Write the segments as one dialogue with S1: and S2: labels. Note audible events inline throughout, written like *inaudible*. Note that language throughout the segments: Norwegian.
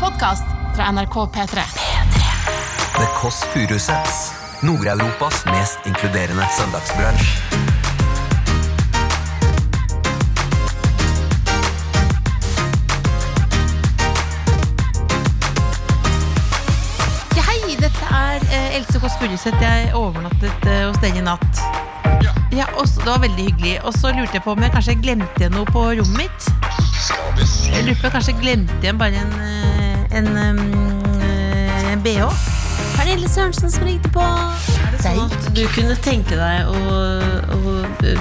S1: podkast fra NRK P3.
S2: The Kåss Furuseths. Nord-Europas mest inkluderende søndagsbransj.
S3: Ja, hei, dette er eh, Else Kåss Furuseth. Jeg overnattet eh, hos deg i natt. Ja, og så, Det var veldig hyggelig. Og så lurte jeg på om jeg kanskje glemte igjen noe på rommet mitt. Jeg lurer på om jeg kanskje glemte igjen bare en, eh, en, em, eh, en bh.
S4: Pernille Sørensen som ringte på.
S3: Deg.
S5: At du kunne tenke deg å, å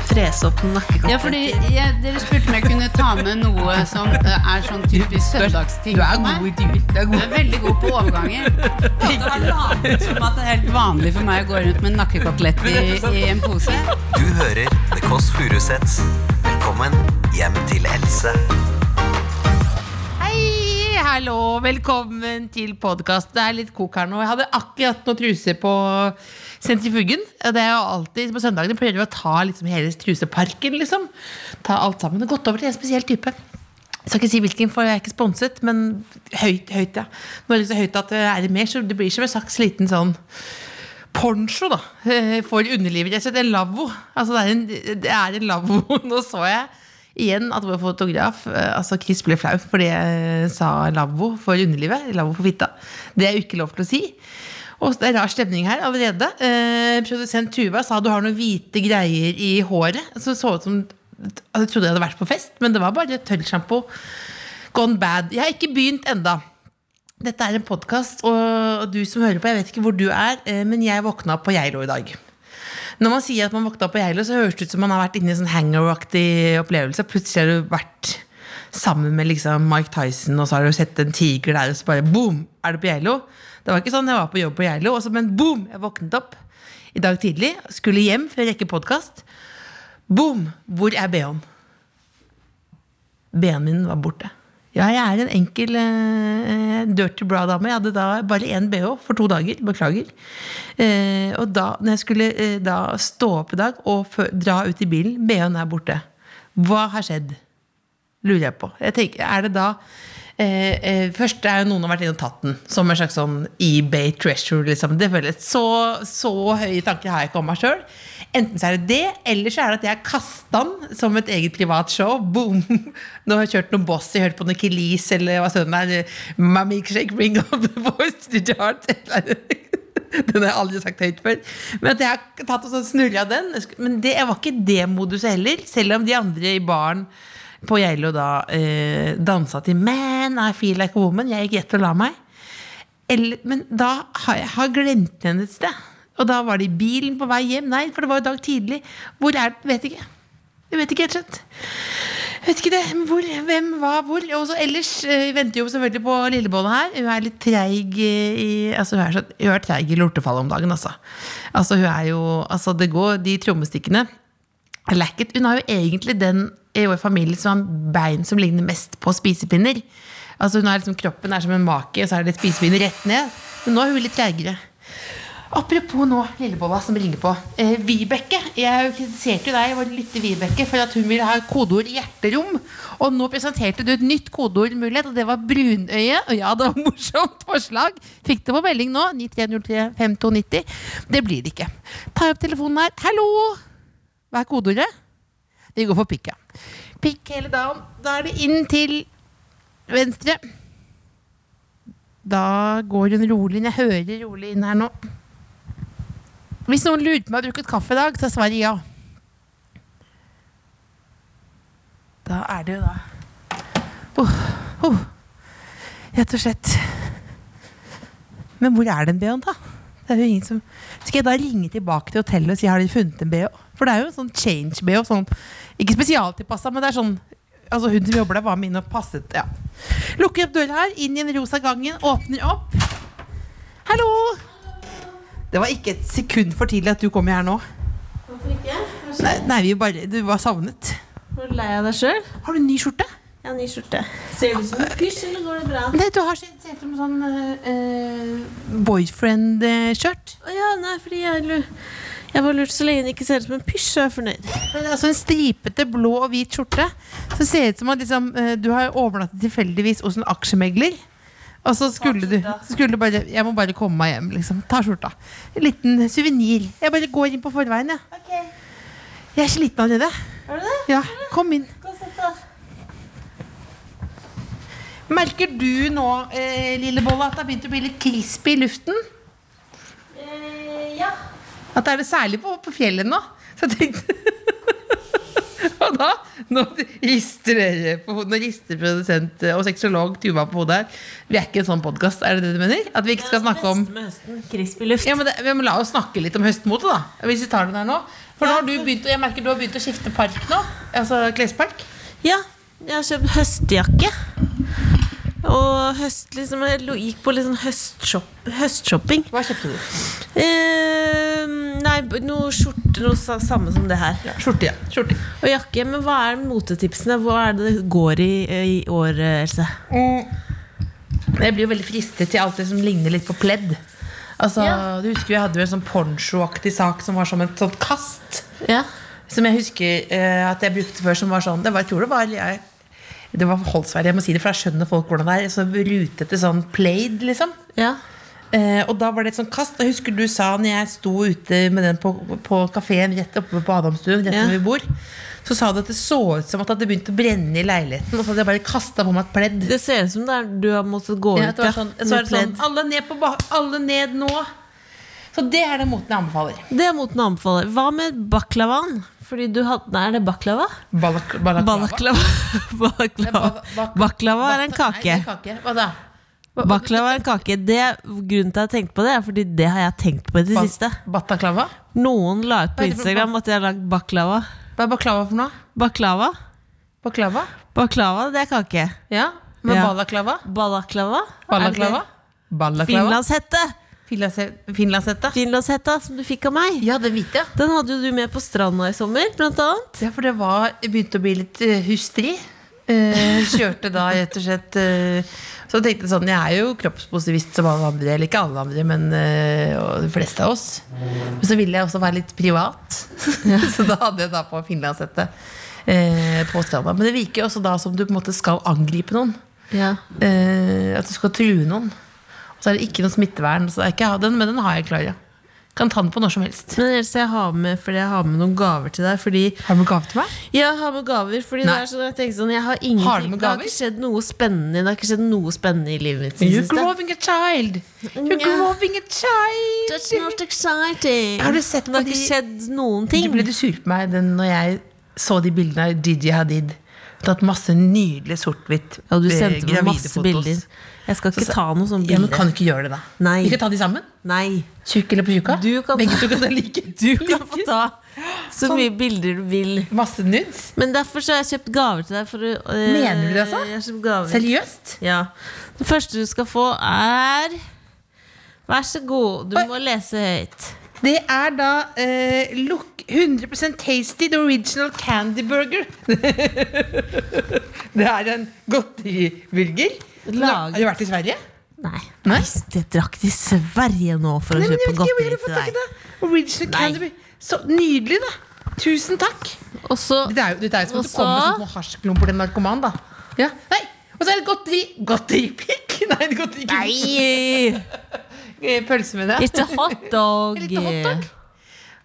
S5: frese opp noen nakkekatter.
S6: Ja, fordi jeg, Dere spurte om jeg kunne ta med noe som eh, er sånn typisk søndagsting for meg.
S3: Du er
S6: Jeg er veldig god på *laughs* overganger. Jeg har latet som at det er helt vanlig for meg å gå rundt med en nakkekotelett i, i en pose.
S2: Du hører The Kåss Furuseths. Velkommen hjem til Else.
S3: Hei, hallo, velkommen til podkast. Det er litt kok her nå. Jeg hadde akkurat noen truser på sentrifugen. Det er jo alltid, På søndagene pleier vi å ta liksom hele truseparken. liksom. Ta alt sammen. Det har gått over til en spesiell type. Jeg skal ikke si hvilken, for jeg er ikke sponset, men høyt, høyt, ja. Nå er det så høyt at det er mer, så det blir som en slags liten sånn poncho da eh, for underlivet. Jeg synes det er en lavvo. Altså, det, er en, det er en lavvo. *laughs* Nå så jeg igjen at vår fotograf eh, altså Chris ble flau fordi jeg sa lavvo for underlivet. Lavvo for fitta. Det er jo ikke lov til å si. Og det er rar stemning her allerede. Eh, produsent Tuva sa du har noen hvite greier i håret. Så så ut som altså, Jeg trodde jeg hadde vært på fest, men det var bare tørrsjampo. Gone bad. Jeg har ikke begynt enda dette er en podkast, og du som hører på, jeg vet ikke hvor du er, eh, men jeg våkna opp på Geilo i dag. Når man sier at man våkna opp på Geilo, så høres det ut som man har vært inne i en sånn hangover-aktig opplevelse. Plutselig har du vært sammen med liksom Mike Tyson, og så har du sett en tiger der, og så bare boom, er du på Geilo. Det var ikke sånn, jeg var på jobb på Geilo, og så men boom, jeg våknet opp i dag tidlig. Skulle hjem for å rekke podkast. Boom, hvor er BH-en? BH-en min var borte. Ja, jeg er en enkel eh, dirty bra-dame. Jeg hadde da bare én bh for to dager. Beklager. Eh, og da når jeg skulle eh, da stå opp i dag og fø- dra ut i bilen, bh-en er borte. Hva har skjedd? Lurer jeg på. Jeg tenker, er det da eh, eh, Først er jo noen har vært inne og tatt den, som en slags sånn eBay treasure. Liksom. Det føles så, så høye tanker har jeg ikke om meg sjøl. Enten så er det det, eller så er det at jeg har kasta den som et eget privat show. Boom! Nå har jeg kjørt noen boss, jeg hørte på noe Kelis eller hva sønnen er. Mammy shake, ring of the voice to the heart. Eller *laughs* den har jeg aldri sagt høyt før. Men at jeg har tatt og sånn snurra den. Men det jeg var ikke i det moduset heller, selv om de andre i baren på Geilo da eh, dansa til Man, I feel like a woman. Jeg gikk rett og la meg. Eller, men da har jeg har glemt den et sted. Og da var det i bilen på vei hjem. Nei, for det var jo dag tidlig. Hvor er den? Vet ikke. Jeg vet ikke helt skjønt. Jeg Vet ikke det. Men Hvor, hvem, hva, hvor? Og så ellers eh, venter jo selvfølgelig på lillebåndet her. Hun er litt treig eh, i Altså, hun er, så, hun er treig i lortefallet om dagen, altså. Altså, hun er jo Altså, det går De trommestikkene er lacket. Hun har jo egentlig den i vår familie som har bein som ligner mest på spisepinner. Altså, hun har liksom Kroppen er som en make, og så er det spisepinner rett ned. Men nå er hun litt treigere. Apropos nå, Lillebolla som ringer på. Eh, Vibeke. Jeg kritiserte jo deg vår lytte Vibeke, for at hun ville ha kodeord 'hjerterom'. Og nå presenterte du et nytt kodeordmulighet, og det var brunøye. Og ja, det var morsomt forslag. Fikk det på melding nå. 93035290. Det blir det ikke. Ta opp telefonen her. Hallo! Hva er kodeordet? Vi går for pikk, ja. Pikk hele dagen. Da er det inn til venstre. Da går hun rolig inn. Jeg hører rolig inn her nå. Hvis noen lurer på om jeg har drukket kaffe i dag, så svarer jeg ja. Da er det jo da oh, oh. Rett og slett. Men hvor er den BH-en, da? Det er jo ingen som Skal jeg da ringe tilbake til hotellet og si har de funnet en BH? For det er jo en sånn change-BH. Sånn, ikke spesialtilpassa, men det er sånn Altså Hun som jobber der, var med inn og passet. Ja. Lukker opp døra her, inn i den rosa gangen, åpner opp. Hallo! Det var ikke et sekund for tidlig at du kom her nå.
S5: Hvorfor ikke? Jeg
S3: Nei, nei vi bare, Du var savnet.
S5: er så lei av deg sjøl.
S3: Har du en ny skjorte?
S5: Jeg har ny skjorte. Ser du ut som en pysj, eller går det bra?
S3: Nei, du har sett ut som en sånn eh, boyfriend-skjørt.
S5: Å ja, nei, fordi jeg, lu- jeg var lurt så lenge det ikke ser ut som en pysj, så er jeg fornøyd.
S3: Det er altså en stripete blå og hvit skjorte. Så ser det ut som at liksom, eh, du har overnattet tilfeldigvis hos en aksjemegler. Og så skulle du skulle bare, Jeg må bare komme meg hjem, liksom. Ta skjorta. En liten suvenir. Jeg bare går inn på forveien, jeg. Jeg er sliten allerede. Ja, kom inn. Merker du nå, eh, lille Bolle, at det har begynt å bli litt crispy i luften?
S5: Eh,
S3: At det er det særlig på, på fjellet nå. Så jeg tenkte *laughs* Og da Nå rister dere på hodet. Nå rister produsent og sexolog Tuva på hodet her. Vi er ikke en sånn podkast, er det det du mener? At vi ikke skal snakke om
S5: Med høsten, crispy luft.
S3: ja, men det, vi må La oss snakke litt om høstmotet, da. Hvis vi tar den her nå. For nå har du begynt, jeg merker du har begynt å skifte park nå. Altså klespark.
S5: Ja, jeg har kjøpt høstjakke. Og høst, liksom, jeg lo- gikk på litt sånn høstshop, høstshopping.
S3: Hva kjøpte du?
S5: Eh, nei, b- noe skjorte, noe sa- samme som det her.
S3: Skjorte, ja. Skjorte.
S5: Og jakke. Men hva er motetipsene? Hva er det det går i i år, eh, Else?
S3: Jeg blir jo veldig fristet til alt det som ligner litt på pledd. Altså, Du husker vi hadde jo en sånn ponchoaktig sak som var som et sånt kast.
S5: Ja.
S3: Som jeg husker eh, at jeg brukte før, som var sånn Det var, jeg tror det var jeg, Det var Holsvær, jeg må si det, for da skjønner folk hvordan det er. Så rutete sånn plaid, liksom.
S5: ja.
S3: Eh, og da var det et sånt kast. Jeg husker du sa når jeg sto ute med den på, på kafeen rett oppe på Adamstuen, rett
S5: Ja.
S3: hvor vi bor, så sa du at det så ut som at det hadde begynt å brenne i leiligheten. Og så hadde jeg bare kasta på meg et pledd.
S5: Det ser ut som det er du har måttet gå
S3: Ja,
S5: ut
S3: det var sånn, så
S5: med
S3: er det sånn
S5: pledd.
S3: alle ned, på ba alle ned nå. Så det er den moten jeg anbefaler.
S5: Det er moten å anbefale. Hva med baklavan? Fordi du hadde, nei, er det baklava?
S3: Balak balaklava.
S5: Balaklava.
S3: Ba-
S5: *laughs* baklava.
S3: bak-
S5: *laughs* baklava er en
S3: bak- Nei,
S5: kake.
S3: det er kake. Hva da?
S5: Baklava er en kake. Det, grunnen til at jeg tenkte på det, er fordi det har jeg tenkt på i det
S3: Ba-
S5: siste.
S3: Bataklava?
S5: Noen la ut
S3: Hva
S5: på
S3: er det for
S5: Instagram at de har lagd baklava.
S3: Hva er baklava for noe?
S5: Baklava?
S3: Baklava?
S5: Baklava, det er kake.
S3: Ja, men
S5: Ja.
S3: balaklava?
S5: Balaklava?
S3: Balaklava?
S5: Er det-
S3: Balaklava?
S5: Finlandshette!
S3: Finlandshette? Finlandshette?
S5: Finlandshetta som du fikk av meg.
S3: Ja, det hvite. ja.
S5: Den hadde jo du med på stranda i sommer, blant annet.
S3: Ja, for det var, det begynte å bli litt eh, hysteri. Eh, kjørte da rett og slett eh, Så tenkte jeg sånn, jeg er jo kroppspositivist som alle andre, eller ikke alle andre, men eh, og de fleste av oss. Men så ville jeg også være litt privat, *laughs* så da hadde jeg da på finlandshette eh, på stranda. Men det virker jo også da som du på en måte skal angripe noen.
S5: Ja.
S3: Eh, at du skal true noen. Og så er det ikke noe smittevern, så det er ikke, den, men den har jeg klar, ja. Kan ta den på når som helst.
S5: Men Else, jeg har med, fordi jeg har med noen gaver til deg. Fordi
S3: Har du noen gave til meg?
S5: Jeg har med gaver,
S3: Nei.
S5: fordi det er sånn jeg tenker sånn Jeg har
S3: Har du
S5: ingenting
S3: med
S5: Det har
S3: gaver?
S5: ikke skjedd noe spennende Det har ikke skjedd noe spennende i livet mitt
S3: You're
S5: siden sist.
S3: growing a child. You're
S5: Nja.
S3: growing a child.
S5: That's not exciting
S3: Har du sett
S5: Det
S3: på
S5: har ikke
S3: de-
S5: skjedd noen
S3: Du
S5: ting
S3: ble du sur på meg den, når jeg så de bildene av Gigi Hadid. Hun har Tatt masse nydelige sort-hvitt
S5: Ja, du
S3: eh,
S5: sendte meg
S3: gravide
S5: masse
S3: fotos.
S5: bilder Jeg skal
S3: sa-
S5: ikke ta noen sånne
S3: Ja, men
S5: bilder
S3: kan du ikke gjøre det, da?
S5: Nei.
S3: Vi kan ta de sammen?
S5: Nei,
S3: Tjukk eller på tjukka?
S5: Du kan-
S3: Begge to kan ta like.
S5: *laughs* du kan få ta så
S3: Sånn.
S5: mye bilder du vil
S3: Masse nudes?
S5: Men derfor så har jeg kjøpt gaver til deg for, å- øh,
S3: Mener du det, altså?
S5: Jeg har kjøpt gaver
S3: Seriøst?
S5: Ja Det første du skal få er Vær så god, du
S3: Oi.
S5: må lese høyt
S3: Det er da eh, look 100 tasty the original candy burger. *laughs* det er en godteriburger.
S5: Lag-
S3: Har du vært i Sverige?
S5: Nei.
S3: Nei?
S5: Jeg drakk til Sverige nå for å
S3: Nei, men jeg
S5: kjøpe
S3: vet ikke hvor
S5: godteri
S3: dere får
S5: til
S3: tak i
S5: deg.
S3: det. Original
S5: Nei.
S3: Candy. Så nydelig, da. Tusen takk.
S5: Og så
S3: Det er jo, det er jo som at
S5: Og
S3: du kommer
S5: så-
S3: med sånne hasjklumper til en narkoman, da. Ja. Nei. Og så er det et godteri. Godteripikk? *laughs* Nei, det godteri
S5: Nei!
S3: pølse med det.
S5: *laughs* Ikke hotdog.
S3: En liten hotdog.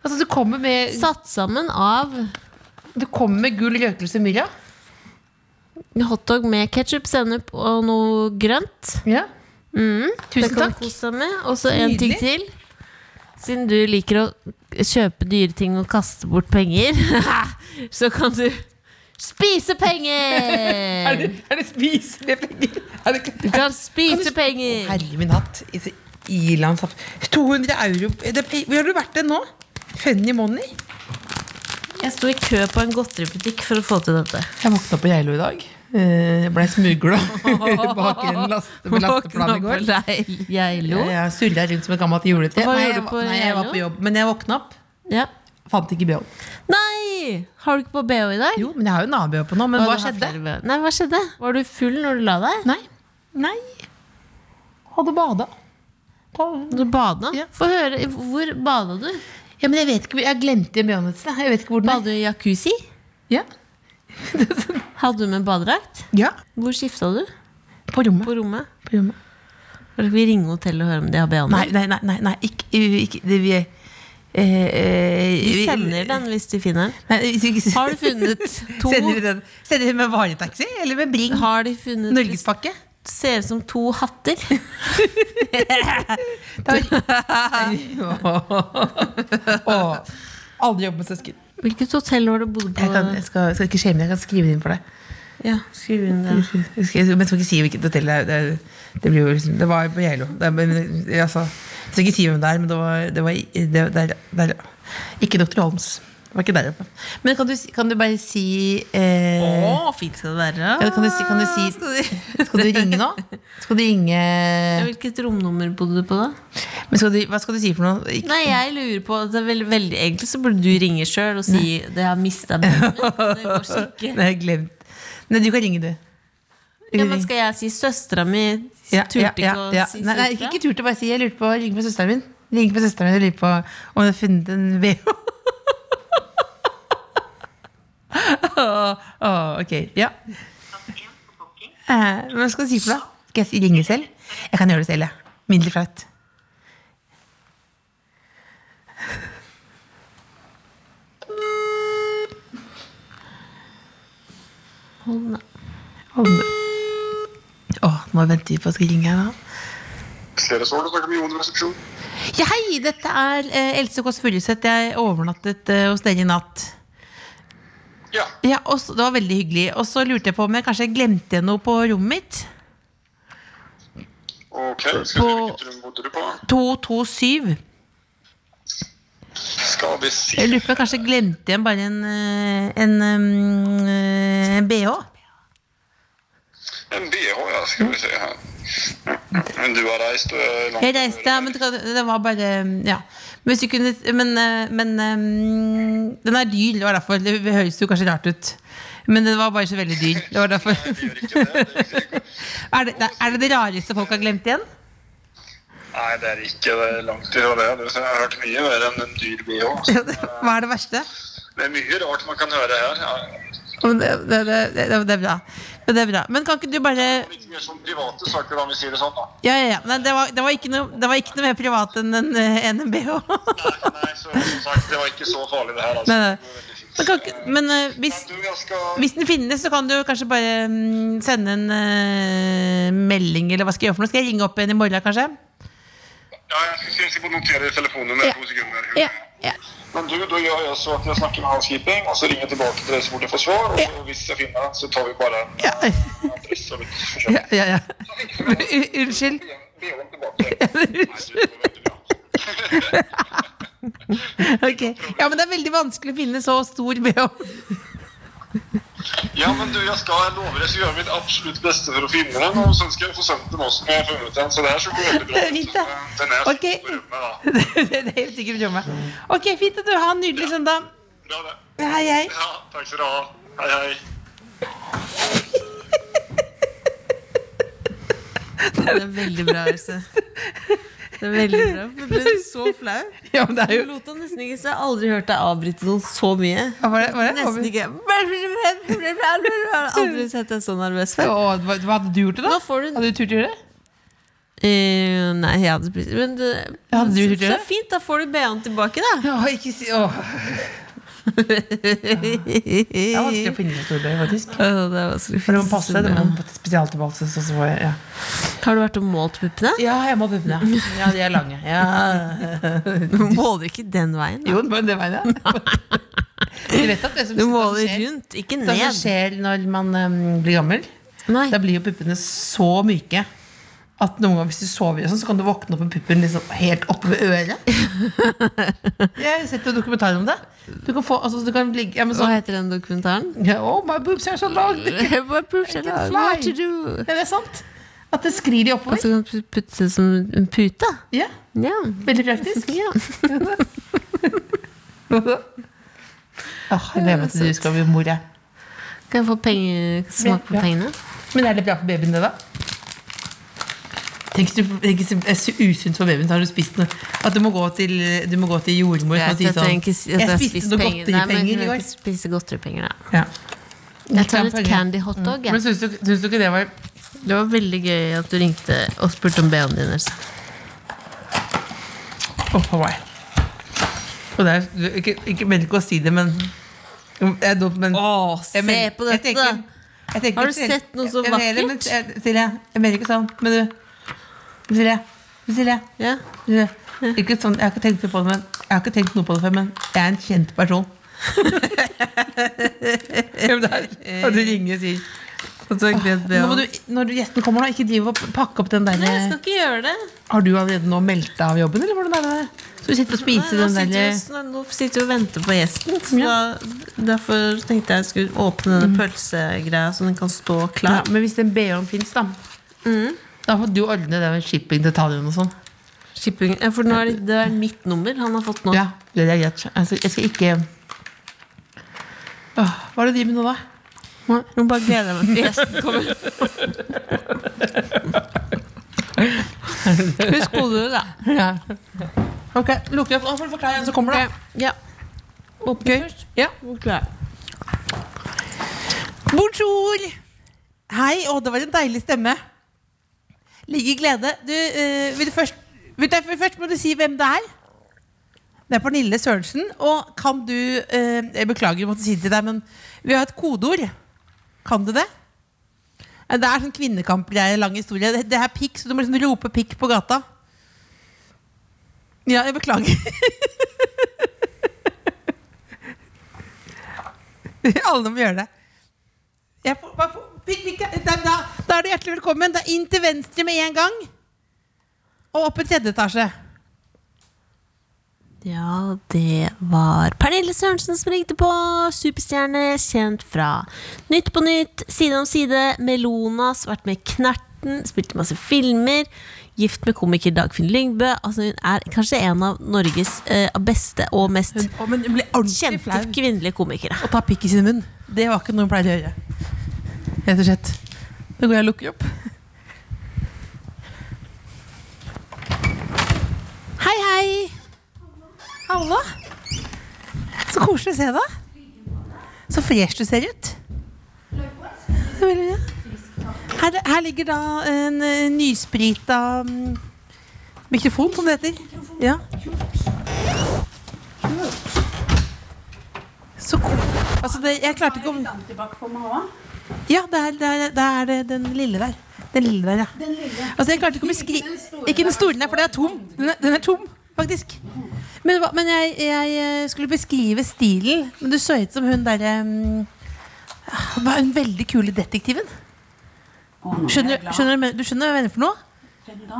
S3: Altså, du kommer med,
S5: Satt sammen av
S3: du kommer med gul røkelse myrra.
S5: hotdog med ketsjup, sennep og noe grønt.
S3: Ja.
S5: Det
S3: Mm. Tusen
S5: kan du
S3: takk.
S5: kose deg med. Og så en ting
S3: Nydelig.
S5: til. Siden du liker å kjøpe dyre ting og kaste bort penger, *laughs* så kan du
S3: *laughs*
S5: spise
S3: Er
S5: penger!
S3: det, er det spiselige penger? Er det,
S5: Du kan spise
S3: sp-
S5: penger!
S3: Herre min hatt. I- Ilandshatt. 200 euro det, pe- Hvor har du vært det nå? Funny money?
S5: Jeg sto i kø på en godteributikk for å få til dette.
S3: Jeg våkna på Geilo i dag. Eh, Jeg blei smugla *laughs* bak en laste med lasteplan i går.
S5: Geilo.
S3: Jeg surra rundt som et gammelt juletre.
S5: Hva
S3: Nei, jeg,
S5: gjorde du
S3: var-
S5: på
S3: nei, jeg var
S5: Geilo?
S3: på jobb, men jeg våkna opp.
S5: Ja.
S3: Fant ikke BH.
S5: Nei! Har du ikke på BH i dag?
S3: Jo, men jeg har jo en annen BH på nå. Men
S5: Å,
S3: hva
S5: du har flere
S3: skjedde?
S5: BH. Nei, hva skjedde? Var du full når du la deg?
S3: Nei. Nei. Hadde bada.
S5: Du bada?
S3: Ja.
S5: Få høre. Hvor bada du?
S3: Ja, men jeg vet ikke, hvor- jeg glemte BH-en et sted. Jeg vet ikke hvor den er.
S5: Bada du i jacuzzi?
S3: Ja.
S5: Hadde du med badedrakt?
S3: ja.
S5: Hvor skifta du?
S3: På rommet.
S5: På rommet?
S3: På rommet.
S5: Kanskje vi ringer hotellet og hører om de har
S3: Nei,
S5: behandling?
S3: nei, nei, nei, nei ikke, ikke det, Vi eh, eh,
S5: Vi
S3: vi-
S5: sender den hvis de finner den.
S3: Nei, hvis vi-
S5: Har du
S3: *laughs*
S5: funnet to?
S3: Sender vi den sender vi den med vanlig taxi eller med Bring?
S5: Har de funnet
S3: Norgespakke?
S5: Det ser ut som to
S3: *laughs*
S5: hatter.
S3: Åh, Aldri jobb med søsken.
S5: Hvilket hotell var det du bodde på?
S3: Jeg, kan, jeg skal, skal ikke shame deg, jeg kan skrive det inn for deg.
S5: Ja, skriv inn det.
S3: Jeg skal, men jeg skal ikke si hvilket hotell det er. Det, er- det, blir jo liksom, det var på Geilo. Det er- men, Altså, jeg skal ikke si hvem det er, men det var, det var i- det, der, der, Ikke Dr. Holmes. Det var ikke der oppe. Men kan du, si- kan du bare si eh,
S5: Å, fint skal det være.
S3: ja, kan, du, si- kan du si Skal du ringe nå? Skal du ringe
S5: Ja, Hvilket romnummer bodde du på, da?
S3: men skal du, Hva skal du si for noe? Ikke-
S5: Nei, jeg lurer på det er veldig, veldig, Egentlig så burde du ringe sjøl og si det har mista
S3: *laughs*
S5: bilen. Det går så ikke.
S3: Nei, jeg har glemt. Nei, du kan ringe, du.
S5: Ja, men skal jeg si søstera mi
S3: Ja,
S5: turte ikke
S3: ja,
S5: å
S3: ja,
S5: si
S3: Nei, nei,
S5: søstera?
S3: ikke turte å bare si Jeg lurte på, jeg ringer på søsteren min Ringer på søsteren min og lurer på om hun har funnet en VH *laughs* Åh, åh, ok, ja eh, Hva skal du si for deg? Skal jeg si- ringe selv? Jeg kan gjøre det selv, ja Mindre flaut
S5: Hold da.
S3: Om det- Åh, nå venter vi på å skal ringe her da
S7: Flere sår, du snakker med Jon Resepsjon.
S3: Ja, hei, dette er eh, Else Kåss Furuseth. Jeg overnattet eh, hos dere i natt.
S7: Ja.
S3: Ja, og så- Det var veldig hyggelig. Og så lurte jeg på om jeg kanskje glemte igjen noe på rommet mitt.
S7: Ok, skal vi
S3: På-
S7: hvilket rom bodde du på?
S3: 227.
S7: Skal vi si
S3: Jeg lurer på om jeg kanskje glemte igjen bare en, eh, en, em, eh, en bh.
S7: en BH, ja, skal vi se her. Men du har reist og er langt
S3: Jeg reiste, ja, men det kan- det var bare mm, Ja. Men, hvis du kunne, men, eh, men em, den er dyr, det var derfor. Det høres jo kanskje rart ut. Men den var bare så veldig dyr. Det var derfor. *laughs*
S7: Det gjør ikke det. det gjør ikke det.
S3: Er det, er det det rareste folk har glemt igjen?
S7: Nei, det er ikke det er langt ifra det. Det- Jeg har hørt mye verre enn en dyr BH. så
S3: *laughs* Hva er det verste?
S7: Det er mye rart man kan høre her. Ja,
S3: Men Det, det, det, det, det er bra. Men det er bra. Men kan ikke du bare
S7: Litt mer sånn private saker, da, om vi sier det sånn. da.
S3: Ja, ja, ja. Nei, det, var, det, var ikke noe, det var ikke noe mer privat enn en, eh, enn en bh.
S7: Nei, nei, så som sagt, det var ikke så farlig, det her.
S3: *laughs*
S7: altså.
S3: Nei, nei.
S7: Det var veldig fint.
S3: Men, kan ikke, men eh, hvis,
S7: Men du, jeg skal...
S3: hvis den finnes, så kan du kanskje bare mm, sende en eh, melding, eller hva skal jeg gjøre for noe? Skal jeg ringe opp igjen i morgen, kanskje?
S7: Ja, jeg synes jeg må notere telefonen
S3: Ja.
S7: med to sekunder.
S3: Ja, ja.
S7: Men du, da gjør jeg så at jeg snakker med housekeeping, og så ringer jeg tilbake til dere så fort jeg får svar. Og
S3: Ja.
S7: så hvis jeg finner den, så tar vi bare en
S3: Ja,
S7: en adresse og litt forskjell.
S3: ja, ja, *laughs* ja. U- Unnskyld.
S7: Be om
S3: *laughs*
S7: tilbake. Nei, du, det var veldig bra.
S3: Ok. Ja, men det er veldig vanskelig å finne så stor bh.
S7: *laughs* Ja, men du, jeg skal jeg lover deg, så gjør jeg mitt absolutt beste for å finne den. Og så skal jeg få sendt den også når jeg har funnet den. Så det her skal
S3: *laughs*
S7: gå veldig bra.
S3: Det er fint,
S7: Så,
S3: da.
S7: eh, Den er
S3: Ok.
S7: på rommet, da.
S3: *laughs* Det er helt sikkert rommet. Ok, fint at du har en nydelig søndag.
S7: Bra, det.
S3: Hei, hei.
S7: Ja, takk skal du ha. Hei, hei.
S5: Det er veldig bra, Else.
S3: *laughs*
S5: Det er veldig bra. for Du ble så flau.
S3: Ja, men det er
S5: Du
S3: jo
S5: lot han nesten ikke så Jeg har aldri hørt deg avbryte noen så mye.
S3: Ja, var det, var det?
S5: Nesten ikke. Jeg har aldri sett deg så nervøs før.
S3: Å, hva, hva hadde du gjort det, da?
S5: Nå får du-
S3: Hadde du turt å gjøre det?
S5: Eh, nei, jeg hadde spist Men du,
S3: Ja, hadde du
S5: så,
S3: gjort det?
S5: så fint, da får du BH-en tilbake,
S3: Å,
S5: da.
S3: ikke si Å. Det er vanskelig å
S5: *laughs*
S3: finne så stor bøy, faktisk.
S5: Å, det er vanskelig å
S3: For det
S5: finne
S3: må passe, det
S5: store.
S3: må spesialtilpasses. og så får jeg- Ja.
S5: Har du vært og målt puppene?
S3: ja, jeg må puppene. Ja, de er lange. Ja.
S5: Måler ikke den veien. Da.
S3: *laughs* Jo, men det *laughs* mener jeg. Du vet at det som
S5: Du måler
S3: det som skjer-
S5: rundt, ikke
S3: Det sånn som
S5: ned.
S3: skjer når man eh, blir gammel,
S5: Nei.
S3: da blir jo puppene så myke. At noen ganger Hvis du sover, og sånn, så kan du våkne opp med puppen liksom helt oppe ved
S5: *laughs*
S3: øret. Jeg har sett en dokumentar om det. Du kan, få, altså, du kan ligge ja, men
S5: Hva
S3: sånn,
S5: heter den dokumentaren?
S3: *laughs* Ja, Oh, my boobs are so
S5: *laughs*
S3: long! Ja,
S5: What to do?
S3: det er sant. At det sklir de
S5: Og
S3: oppover.
S5: så kan du putte det som en pute.
S3: Ja,
S5: Ja.
S3: Veldig praktisk.
S5: ja.
S3: Åh, jeg gleder meg til du skal bli mor. jeg.
S5: Kan jeg få penger, smak på
S3: Ja.
S5: pengene?
S3: Men er det bra for babyen, det, da? Tenk, du, tenk det er så usunt for babyen. så Har du spist noe? At du må gå til, du må gå til jordmor og si
S5: Jeg
S3: sånn
S5: trenger ikke si at jeg har spist
S3: noe
S5: penger. Nei,
S3: godteripenger
S5: men jeg
S3: i
S5: kan
S3: år.
S5: ikke spise godteripenger, da.
S3: Ja.
S5: Jeg
S3: Ikke
S5: tar litt
S3: penger.
S5: candy hotdog,
S3: Men
S5: jeg.
S3: syns du, syns du ikke det var
S5: Mm. Det var veldig gøy at du ringte og spurte om BH-en din. Else.
S8: Og på meg. Og det er, du, ikke, ikke mener ikke å si det, men det er dumt, men
S5: Åh,
S8: jeg mener-
S5: se på dette,
S8: jeg tenker- jeg tenker
S5: Har du
S8: til-
S5: sett noe så
S8: jeg mener- men-
S5: vakkert?
S3: eh,
S8: jeg- Silje, jeg mener ikke sånn, men du Silje. Silje.
S5: Ja.
S8: Silje. Ikke sånn, jeg har ikke tenkt på det, men Jeg har ikke tenkt noe på det før, men jeg er en kjent *laughs* person. Ja, men det er- *laughs* og du ringer og sier nå må du, Når du- gjesten kommer, nå, ikke driv og pakke opp den der
S5: Nei, jeg skal ikke gjøre det.
S8: Har du allerede nå meldt deg av jobben, eller hvordan er det? Så du sitter og
S5: Nei,
S8: spiser
S5: nå,
S8: den
S5: sitter vi,
S8: der
S5: og sn- nå sitter vi og venter på gjesten. Så da, derfor tenkte jeg jeg skulle åpne denne pølsegreia, så den kan stå
S8: Ja,
S5: klar.
S8: men hvis den BH-en fins, da Da får du ordne det med shippingdetaljene og sånn.
S5: Shipping. Ja, for nå er det, det er mitt nummer han har fått nå.
S8: Ja, det er greit. Altså, jeg skal ikke Åh, Hva er det du driver med nå, da?
S5: Nå bare gleder jeg meg til gjesten kommer. Husk kodeordet, da.
S8: Ok, Lukker opp. Nå får du forklare en som kommer, da.
S5: Ja. Åpne først. Ja.
S3: Bonjour! Hei, å, det var en deilig stemme. Ligger i glede. Du, eh, vil du først, vil du, først må du si hvem det er. Det er Pernille Sørensen. Og kan du eh, Jeg beklager, jeg måtte si det til deg, men vi har et kodeord. Kan du det? Eh, Det er sånn kvinnekamp-greie, lang historie. Det, det er pikk, så du må liksom rope pikk på gata. Ja, jeg beklager. *laughs* Alle må gjøre det. Jeg får, hva får, pikk, pikk, da, da, da er du hjertelig velkommen. Da inn til venstre med en gang. Og opp i tredje etasje.
S9: Ja, det var Pernille Sørensen som ringte på. Superstjerne kjent fra Nytt på Nytt, Side om Side, Melonas, vært med i Knerten, spilte masse filmer. Gift med komiker Dagfinn Lyngbø. Altså, hun er kanskje en av Norges eh, beste og mest
S3: Å, men hun ble ordentlig
S9: kjente kvinnelige komikere.
S3: Å ta pikk i sin munn. Det var ikke noe hun pleide å gjøre. Rett og slett. Nå går jeg og lukker opp. Hei, hei. Halla. Så koselig å se deg. Så fresh du ser ut. Det er veldig bra. Her, her ligger da en eh, nysprita mm, mikrofon, som det heter. Ja. Så ko- altså det, jeg klarte ikke om Ja, det er, det er, det er det, den lille der. Den lille der, ja. Altså, jeg klarte ikke å beskrive Ikke den store, nei, for den er tom. Den er, den er tom, faktisk. Men, det var- men jeg, jeg eh, skulle beskrive stilen. Men du så ut som hun derre um, Var hun veldig kule detektiven? Skjønner, skjønner, du- du skjønner hva jeg mener for noe?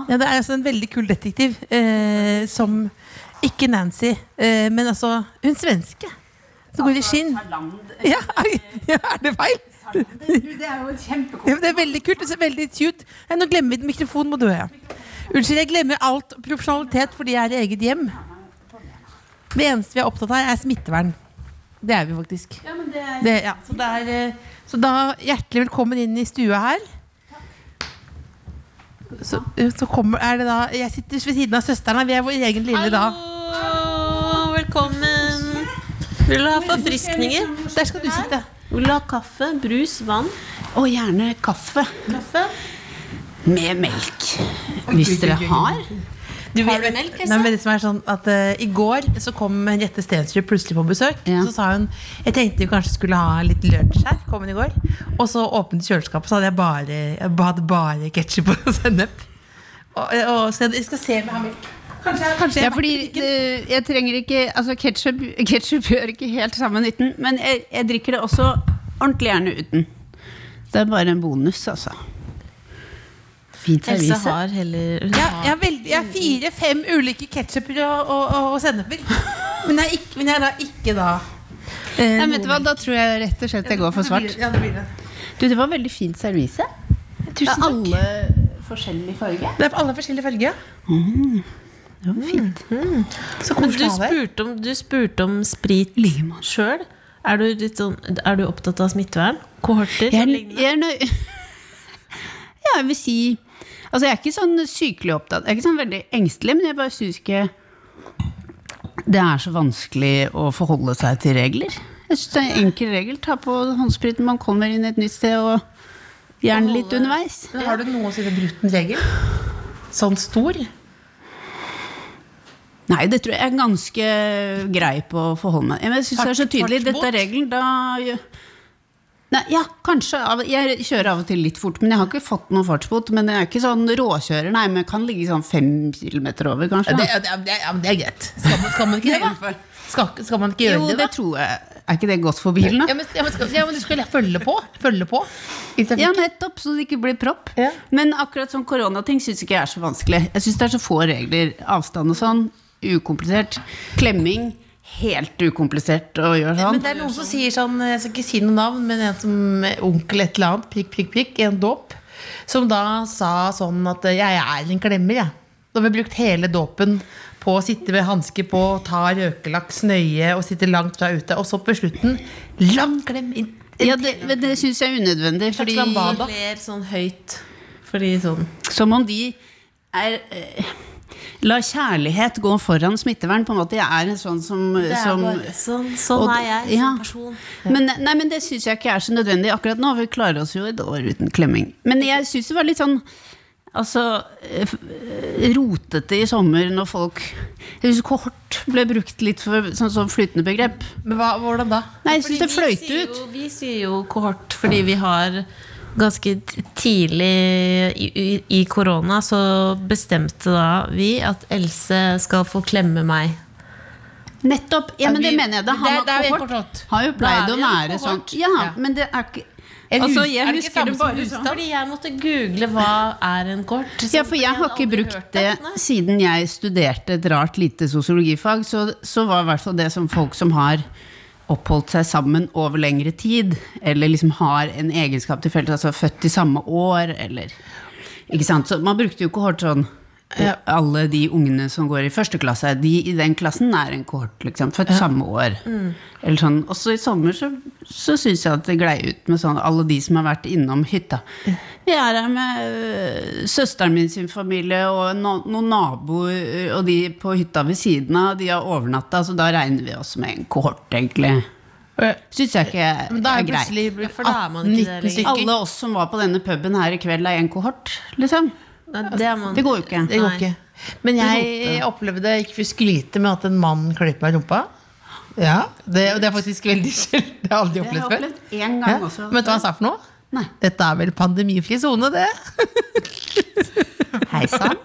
S3: Ja, det er altså en veldig kul detektiv eh, som Ikke Nancy, eh, men altså Hun svenske. Som går i skinn. Ja, *laughs* ja, er det feil? Ja, men det er veldig kult. Det ser veldig cute Nei, Nå glemmer vi den. Mikrofonen må dø. Ja. Unnskyld, jeg glemmer alt profesjonalitet fordi jeg er i eget hjem. Det eneste vi er opptatt av, er smittevern. Det er vi faktisk. Det, ja. så, det er, eh, så da hjertelig velkommen inn i stua her. Så, eh, så kommer, er det da Jeg sitter ved siden av søsteren. Vi er vår egen lille da.
S5: Hallo, velkommen. Vil du ha forfriskninger?
S3: Der skal du sitte.
S5: Vil du ha kaffe, brus, vann?
S6: Og gjerne kaffe
S5: Kaffe?
S6: med melk. Hvis dere har.
S8: Du,
S5: Har du
S8: vet-
S5: melk,
S8: Nei, men det som er sånn at eh, I går så kom Jette Stensrud plutselig på besøk.
S6: Ja.
S8: Så sa hun jeg tenkte vi kanskje skulle ha litt lunsj her. Kom hun i går Og så åpnet kjøleskapet, så hadde jeg bare, jeg hadde bare ketsjup og *laughs* sennep. Og, og, så jeg, jeg skal se om jeg har melk. Kanskje, kanskje jeg
S6: Ja, fordi eh, jeg trenger ikke Altså, ketchup, *laughs* ketchup gjør ikke helt samme nytten, men jeg, jeg drikker det også ordentlig gjerne uten. Det er bare en bonus, altså. Fint
S5: Else
S6: servise.
S5: har heller hun
S3: Ja,
S5: har-
S3: jeg, har veldig, jeg har fire-fem ulike ketsjuper og, og, og, og senneper. Men jeg er ikke, men jeg er da ikke da eh,
S6: Nei, vet du hva, Da tror jeg rett og slett jeg går for svart.
S3: Ja, det blir det.
S6: Du, Det var veldig fint servise. Tusen takk. Alle forskjellig farge.
S8: Det er på alle forskjellige farger. ja.
S6: Det var fint.
S8: Så
S5: Men
S8: koselig
S5: du
S8: å ha det.
S5: spurte om, du spurte om sprit
S6: Lima.
S5: sjøl. Er, du litt sånn, er du opptatt av smittevern? Kohorter?
S6: Jeg er,
S5: lignende?
S6: jeg er nø *laughs* ja, jeg vil si Altså, jeg er ikke sånn sykelig opptatt. Jeg er ikke sånn veldig engstelig, men jeg bare syns ikke det er så vanskelig å forholde seg til regler. Jeg syns det er en enkel regel. Ta på håndspriten når man kommer inn et nytt sted, og Gjerne litt underveis.
S3: Men har du noensinne brutt en regel? Sånn stor?
S6: Nei, det tror jeg er ganske grei på å forholde meg Men Jeg syns det er så tydelig.
S3: Fart-
S6: Dette er regelen. Da gjør- Nei, ja, kanskje. av- Jeg kjører av og til litt fort, men jeg har ikke fått noen fartsbot. Men jeg er ikke sånn råkjører, nei, men jeg kan ligge sånn fem kilometer over,
S3: Det,
S6: kanskje. da.
S3: ja, det, ja, men det er greit. Skal man, skal man ikke det, da? Skal, skal man ikke gjøre
S6: Jo,
S3: det, da?
S6: det tror jeg. Er ikke det godt for bilen,
S3: Ja,
S6: da?
S3: men, ja, men, skal, ja, men du skal følge på. Følge på. i trafikken.
S6: Ja, nettopp, så det ikke blir propp.
S3: Ja.
S6: Men akkurat sånn koronating syns ikke jeg er så vanskelig. Jeg syns det er så få regler. Avstand og sånn. Ukomplisert. Klemming. Helt ukomplisert å gjøre sånn.
S3: Men det er noen som sier sånn Jeg skal ikke si noe navn, men en som onkel et eller annet, prikk, prikk, prikk, i en dåp, som da sa sånn at jeg er en klemmer, jeg. Da har vi brukt hele dåpen på å sitte med hansker på, ta røkelaks nøye og sitte langt fra ute. Og så på slutten lang klem inn.
S6: Ja, det, men det syns jeg er unødvendig. Fordi,
S3: lambada.
S5: Ler sånn høyt. Fordi sånn
S6: som om de er eh, La kjærlighet gå foran smittevern. På en måte Jeg er en sånn som, som
S5: Sånn, sånn
S6: og-
S5: er jeg
S6: ja.
S5: som person.
S6: Men, nei, men det syns jeg ikke er så nødvendig akkurat nå. Vi klarer oss jo et år uten klemming. Men jeg syns det var litt sånn Altså eh, f- eh, rotete i sommer når folk Jeg syns kohort ble brukt litt for, som sånn flytende begrep.
S3: Men hva, hvordan da?
S6: Nei, jeg
S5: Fordi
S6: syns det
S5: vi
S6: fløyt
S5: sier
S6: ut.
S5: Jo, vi sier jo kohort fordi vi har ganske t- tidlig i, i, i korona så bestemte da vi at Else skal få klemme meg.
S6: Nettopp. Ja, men det
S3: vi-
S6: mener jeg. Da
S3: det-
S6: har
S3: det er
S6: man
S3: vi en
S6: kohort.
S3: kohort.
S6: Har jo pleid
S5: Da er
S6: å
S5: vi en
S6: være sånn.
S5: kohort.
S6: Ja,
S3: Ja.
S6: men det er ikke
S3: En
S6: Altså,
S3: hus-
S6: jeg
S3: er det ikke
S6: husker
S3: samme
S6: det
S3: som
S6: bare sånn.
S3: husstand?
S5: Fordi jeg måtte google hva er en kohort.
S6: Ja, for jeg har ikke brukt det siden jeg studerte et rart lite sosiologifag, så, så var i hvert fall det som folk som har oppholdt seg sammen over lengre tid, eller liksom har en egenskap til felles, altså født i samme år, eller Ikke sant? Så man brukte jo kohort sånn. Alle de ungene som går i første klasse, de i den klassen er en kohort, liksom. Født samme år.
S3: Mm.
S6: Eller sånn. Og så i sommer så, så syns jeg at det glei ut med sånn alle de som har vært innom hytta. Vi er her med øh, søsteren min sin familie og no, noen naboer, øh, og de på hytta ved siden av, de har overnatta, så da regner vi oss med en kohort, egentlig.
S3: Eh,
S6: Syns jeg ikke
S3: Men da er
S6: er
S3: det
S6: greit.
S3: plutselig blitt
S5: for da er man ikke
S3: 18-19
S5: det lenger.
S3: stykker.
S6: Alle oss som var på denne puben her i kveld, er en kohort, liksom.
S5: Nei, det er man.
S6: Det går jo ikke.
S3: Mm. Det går ikke. Men jeg opplevde, ikke for å skryte, men at en mann kløp meg i rumpa. Ja, det, og det er faktisk veldig sjelden. Det har jeg aldri
S6: Det har jeg
S3: opplevd før.
S6: opplevd én gang
S3: Ja.
S6: også.
S3: Men vet du hva han sa for noe?
S6: Nei.
S3: Dette er vel pandemifri sone, det. *laughs*
S6: Hei sann.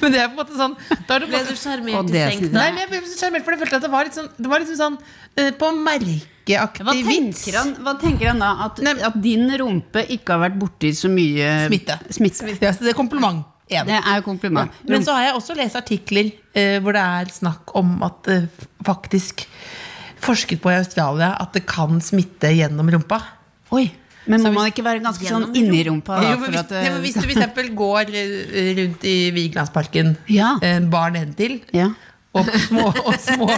S3: Men det er på en måte sånn da er det på
S5: Ble
S3: en måte,
S5: du
S6: Og
S5: sjarmert i
S6: det
S5: senk
S6: synes
S5: da?
S3: Nei, men jeg ble så sjarmert, for jeg følte at det var litt sånn, det var liksom sånn eh, på
S6: Hva
S3: merkeaktig vits.
S6: tenker, han, hva tenker han da? At,
S3: Nei,
S6: at din rumpe ikke har vært borti så mye
S3: Smitte.
S6: smitte.
S3: Ja, så det er kompliment. En.
S6: Det er jo kompliment.
S3: Men så har jeg også lest artikler eh, hvor det er snakk om at det faktisk forsket på i Australia at det kan smitte gjennom rumpa.
S6: Oi, men må man ikke være ganske sånn inni rumpa? Da,
S3: Jo, men
S6: for
S3: hvis,
S6: at, eh,
S3: ja, men hvis du for eksempel går eh, rundt i Vigelandsparken,
S6: Ja.
S3: en bar nedentil,
S6: ja.
S3: og små, og små,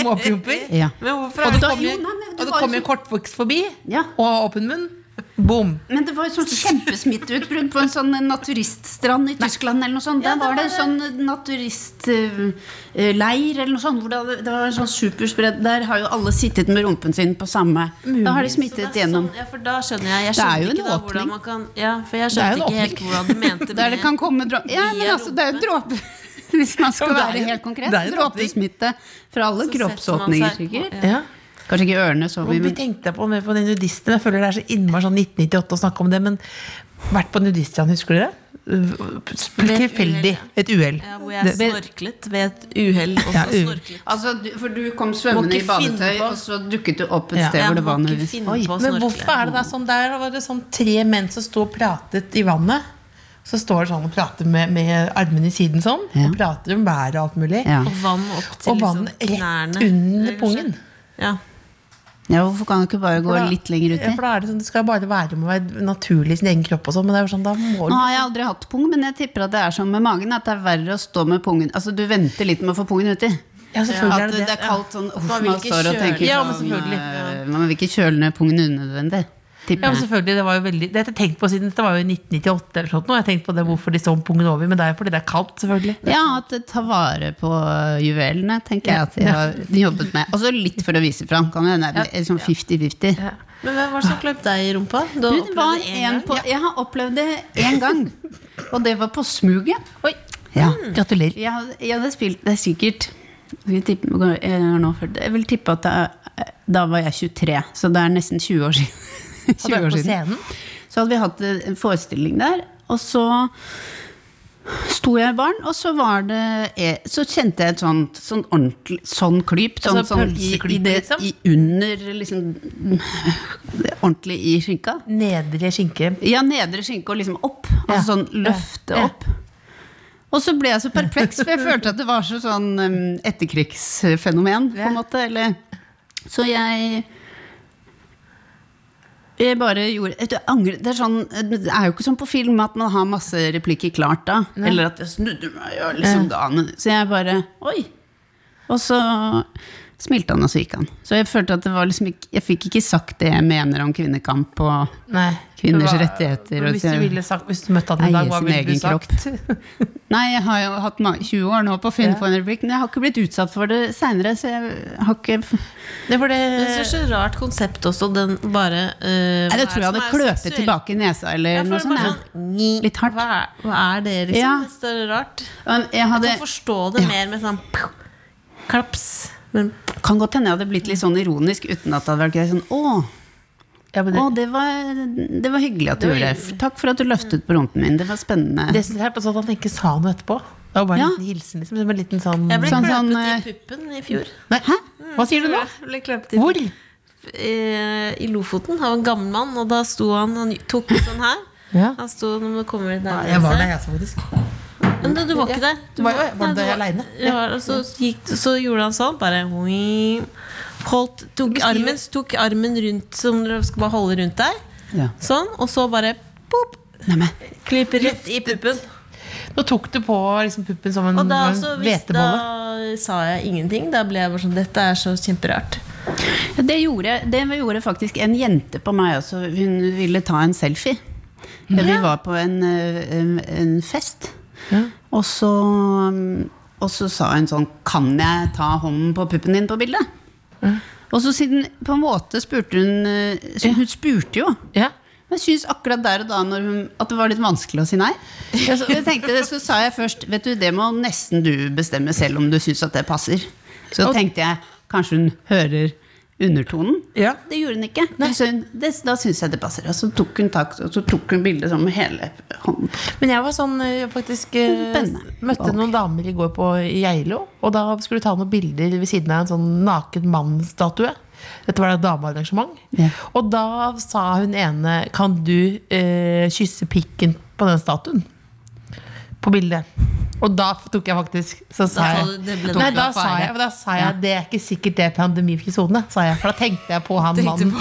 S3: småpromper
S6: Ja.
S5: Men hvorfor
S3: Og
S5: er
S3: det
S5: det
S3: kommer
S6: Jo, nei, men det
S3: og det
S6: var jo
S3: kommer en kortvokst forbi,
S6: Ja.
S3: og har åpen munn. Bom.
S6: Men det var jo sånn kjempesmitteutbrudd på en sånn naturiststrand i Tyskland. eller noe sånt. Der var det en sånn naturistleir eller noe sånt. Hvor det, hadde- det var en sånn superspredd. Der har jo alle sittet med rumpen sin på samme Da har de
S5: Så
S6: smittet
S5: det er
S6: gjennom.
S5: Sånn, ja, for da skjønner jeg. Jeg
S6: Det er
S5: skjønner
S6: jo en
S5: ikke da
S6: åpning.
S5: hvordan man kan Ja, for jeg
S3: er jo en
S5: skjønte ikke helt
S3: åpning.
S5: hvordan du mente
S6: Der *laughs* det
S5: med-
S6: kan komme dråper. Ja, men
S5: Via
S6: altså, det er jo dråper. *laughs* Hvis man skal
S3: Ja, men det er
S6: være
S3: jo-
S6: helt konkret.
S3: det er jo en åpning.
S6: Dråpesmitte fra alle
S5: setter man seg
S6: kroppsåpninger,
S5: på-
S6: sikkert.
S3: Ja.
S6: Kanskje ikke ørene så
S3: Vi
S6: mye, men
S3: tenkte på, på den nudisten. Jeg føler det er så innmari sånn 1998 å snakke om det, men vært på nudiststrand, husker dere? Uh, Tilfeldig. Et uhell.
S5: Ja, hvor jeg
S3: Det-
S5: snorklet ved et uhell. og så
S3: Ja, uhell.
S5: snorklet.
S6: Altså, du- For du kom svømmende
S5: Må
S6: i
S5: ikke finne
S6: badetøy,
S5: på.
S6: og så dukket du opp et
S3: Ja.
S6: sted
S5: Ja,
S6: hvor det
S5: må
S6: var
S5: ikke
S6: noe
S5: finne på å
S3: Men
S5: snorkle.
S3: hvorfor er det da sånn der var det sånn tre menn som sto og pratet i vannet? Så står det sånn og prater med, med armene i siden sånn,
S6: Ja.
S3: og prater om været og alt mulig.
S6: Ja.
S5: Og vann opp til
S3: Og vann
S5: liksom,
S3: rett
S5: knærne.
S3: under
S5: eller kanskje.
S3: pungen.
S5: Ja.
S6: Ja, Hvorfor kan du ikke bare gå
S3: For da-
S6: litt lenger
S3: Ja,
S6: uti?
S3: for da er det sånn, det skal bare være med å være naturlig i sin egen kropp og sånn, men det er jo sånn, da må du
S6: Nå har jeg aldri hatt pung, men jeg tipper at det er som med magen. At det er verre å stå med pungen Altså, du venter litt med å få pungen uti.
S3: Ja, selvfølgelig
S6: At
S3: er det
S6: det
S3: det.
S6: er kaldt sånn uff,
S5: Man vil
S6: man
S5: ikke
S6: står og
S5: kjøle-
S6: tenker
S3: Ja, men
S6: sånn,
S3: selvfølgelig.
S6: eh, Man vil ikke kjøle ned pungen unødvendig.
S3: Ja,
S6: Tipper
S3: men
S6: jeg.
S3: selvfølgelig, Det var jo veldig, det har jeg tenkt på siden det var jo i 1998 eller sånt nå. Jeg har tenkt på det hvorfor de så om pungen over, men det er jo fordi det er kaldt, selvfølgelig.
S6: Ja, at det tar vare på eh, juvelene, tenker jeg at de har jobbet med. Og så litt for å vise fram. Kan det hende det er liksom 50-50.
S3: Ja.
S5: Men hvem var det som kløp deg i rumpa? Du
S6: Du, det var en på, jeg har opplevd det én gang, og det var på smuget.
S5: Oi.
S6: Ja.
S3: Mm. Gratulerer.
S6: Jeg hadde, jeg hadde spilt det er sikkert skal vi tippe, hvor gammel- jeg, er nå 40. jeg vil tippe at da, da var jeg 23, så det er nesten 20 år siden. *laughs* 20
S3: Har du vært
S6: år
S3: på
S6: siden.
S3: scenen?
S6: Så hadde vi hatt eh, en forestilling der, og så sto jeg i baren, og så var det eh, Så kjente jeg et sånt sånn ordentlig sånn klyp. Sånn,
S5: Altså
S6: sånn, i, i
S5: pølseklype,
S6: det,
S5: liksom?
S6: i Under liksom *laughs* det Ordentlig i skinka.
S3: Nedre skinke.
S6: Ja, nedre skinke og liksom opp. Altså
S3: Ja.
S6: sånn løfte
S3: Ja.
S6: opp. Og så ble jeg så perpleks, for jeg følte at det var så sånn um, etterkrigsfenomen, på en måte. Eller. Så jeg jeg bare gjorde jeg angrer, det, er sånn, det er jo ikke sånn på film at man har masse replikker klart da. Eller at jeg snudde meg og liksom ga han en- Så jeg bare Oi! Og så smilte han, og så gikk han. Så jeg følte at det var liksom ikke Jeg fikk ikke sagt det jeg mener om kvinnekamp og
S3: Nei.
S6: Kvinners
S3: Hva-
S6: rettigheter og-
S3: Hvis du, ville sagt, hvis du møtte han i
S6: Eie
S3: dag, hva
S6: sin
S3: ville du
S6: egen
S3: sagt? *laughs*
S6: Nei, jeg har jo hatt ma- 20 år nå på å finne på en replikk, men jeg har ikke blitt utsatt for det seinere, så jeg har ikke Nei,
S3: Det var det
S5: Det er så rart konsept også, den bare eh, hva
S6: det tror
S5: er
S6: jeg
S5: det
S6: hadde
S5: som er
S6: kløpet
S5: seksuelt?
S6: tilbake i nesa eller
S5: Ja, for
S6: noe
S5: det er
S6: sånt.
S5: bare
S6: ja.
S5: sånn,
S6: Litt hardt.
S5: Hva er, hva er det, liksom?
S6: Ja.
S5: Det er så rart.
S6: Men Jeg
S5: Jeg
S6: hadde,
S5: kan forstå det mer med sånn pow, klaps. Men
S6: kan godt hende jeg hadde blitt litt sånn ironisk uten at det hadde vært gøy. Sånn, å,
S3: ja, men det,
S6: å det, var, det var hyggelig at du gjorde det. Takk for at du løftet på rumpen min. Det var spennende.
S3: det synes jeg er på sånn at han ikke sa noe etterpå. Det var bare
S6: Ja.
S3: en liten hilsen, liksom. Som en liten sånn
S5: jeg ble
S6: Sånn,
S5: kløpet
S6: sånn,
S5: i puppen i fjor.
S3: Nei, hæ?
S5: Mm.
S3: Hva sier du nå?
S5: Jeg ble kløpet i
S3: Hvor?
S5: eh, i Lofoten av en gammel mann, og da sto han Han tok sånn her.
S3: Ja.
S5: Han sto Nå må du komme litt nærmere.
S3: Jeg var der, jeg, altså, faktisk.
S5: Men du, du var ikke der.
S3: Du var jo- var
S5: nei,
S3: du der
S5: var-
S3: alene?
S5: Ja, og så, gikk, så gjorde han sånn, bare oi. Holdt, tok, armen, tok armen rundt, som du skal bare holde rundt deg.
S6: Ja.
S5: Sånn, og så bare pop,
S6: Neimen,
S5: klyper rett i puppen.
S3: Nå tok du på liksom, puppen som en
S5: Og da,
S3: en
S5: så, hvis,
S3: hvetebolle.
S5: da sa jeg ingenting. Da ble jeg bare sånn Dette er så kjemperart.
S6: det, gjorde, det gjorde faktisk en jente på meg også. Hun ville ta en selfie. Vi var på en, eh, en, en fest. Og så, mm, og så sa hun sånn Kan jeg ta hånden på puppen din på bildet? Og så siden På en måte spurte hun eh, så Hun spurte jo.
S3: Ja.
S6: Men jeg syns akkurat der og da når hun, at det var litt vanskelig å si nei. Jeg så- jeg tenkte det, Så sa jeg først Vet du, det må nesten du bestemme selv om du syns at det passer. Så tenkte jeg kanskje hun hører undertonen.
S3: Ja.
S6: Det gjorde hun ikke. Så hun, det, da syns jeg det passer. Og så tok hun tak, og så tok hun bildet sånn med hele hånden.
S3: Men jeg var sånn eh, faktisk eh,
S6: Spennende.
S3: Møtte noen damer i går på Geilo, og da skulle du ta noen bilder ved siden av en sånn naken mannsstatue. Dette var da et damearrangement.
S6: Ja.
S3: Og da sa hun ene Kan du eh, kysse pikken på den statuen? På bildet. Og da tok jeg faktisk Så sa
S5: Da sa
S3: jeg
S5: du, det ble
S3: Nei,
S5: dårlig
S3: da sa jeg, da sa jeg det er ikke sikkert det er pandemifrisone, sa jeg. For da tenkte jeg på han mannen.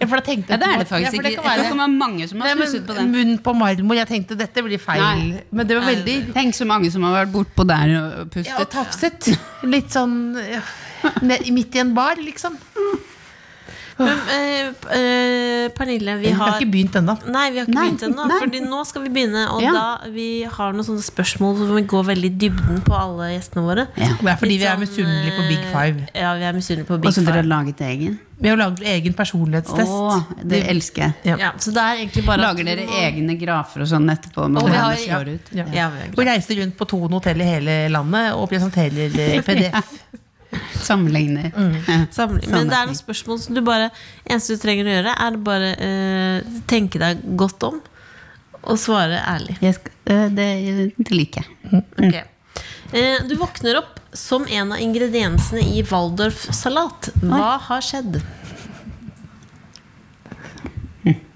S3: Ja, for da tenkte jeg
S6: Ja, det er det
S3: på- ja,
S6: faktisk
S3: for kan
S6: ikke. Jeg tror
S3: være-
S6: det kan være mange som har
S3: Nei,
S6: slusset på
S3: men
S6: den.
S3: Munn på marmor. Jeg tenkte dette blir feil.
S6: Nei.
S3: Men det var veldig
S6: Tenk så mange som har vært bortpå der og
S3: ja, og
S6: pustet.
S3: tafset. Litt sånn ja, ned- midt i en bar, liksom.
S5: Men, eh, eh, Pernille, vi
S3: Vi har
S5: har
S3: ikke begynt ennå.
S5: Nei, vi har ikke
S6: Nei,
S5: begynt ennå.
S6: nei.
S5: Fordi nå skal vi begynne. Og
S6: Ja.
S5: da vi har noen sånne spørsmål hvor vi går veldig i dybden på alle gjestene våre.
S6: Ja.
S3: Det er fordi
S5: Litt
S3: vi er
S5: sånn,
S3: misunnelige på Big
S5: eh,
S3: Five.
S5: Ja, vi er misunnelige på
S6: *laughs* Og
S5: Big
S6: så dere har
S5: Five.
S6: laget egen?
S3: Vi har laget egen personlighetstest.
S6: Å, det elsker jeg.
S3: ja.
S5: Ja, så det er egentlig bare at
S6: Lager dere
S5: vi må-
S6: egne grafer og sånn etterpå? Med
S5: Og vi
S6: hvordan
S5: har-
S6: det slår ut?
S3: Ja.
S5: Ja, vi er
S3: Og reiser rundt på Thon hotell i hele landet og presenterer
S6: *laughs*
S3: eh,
S5: *laughs*
S3: PDF.
S6: Sammenligner. Ja.
S5: Samling. Mm. Men det er noen spørsmål som du bare eneste du trenger å gjøre, er bare eh, tenke deg godt om og svare ærlig.
S6: Jeg skal, øh, det, det liker jeg.
S5: Ok. Eh, du våkner opp som en av ingrediensene i Waldorf-salat. Hva har skjedd?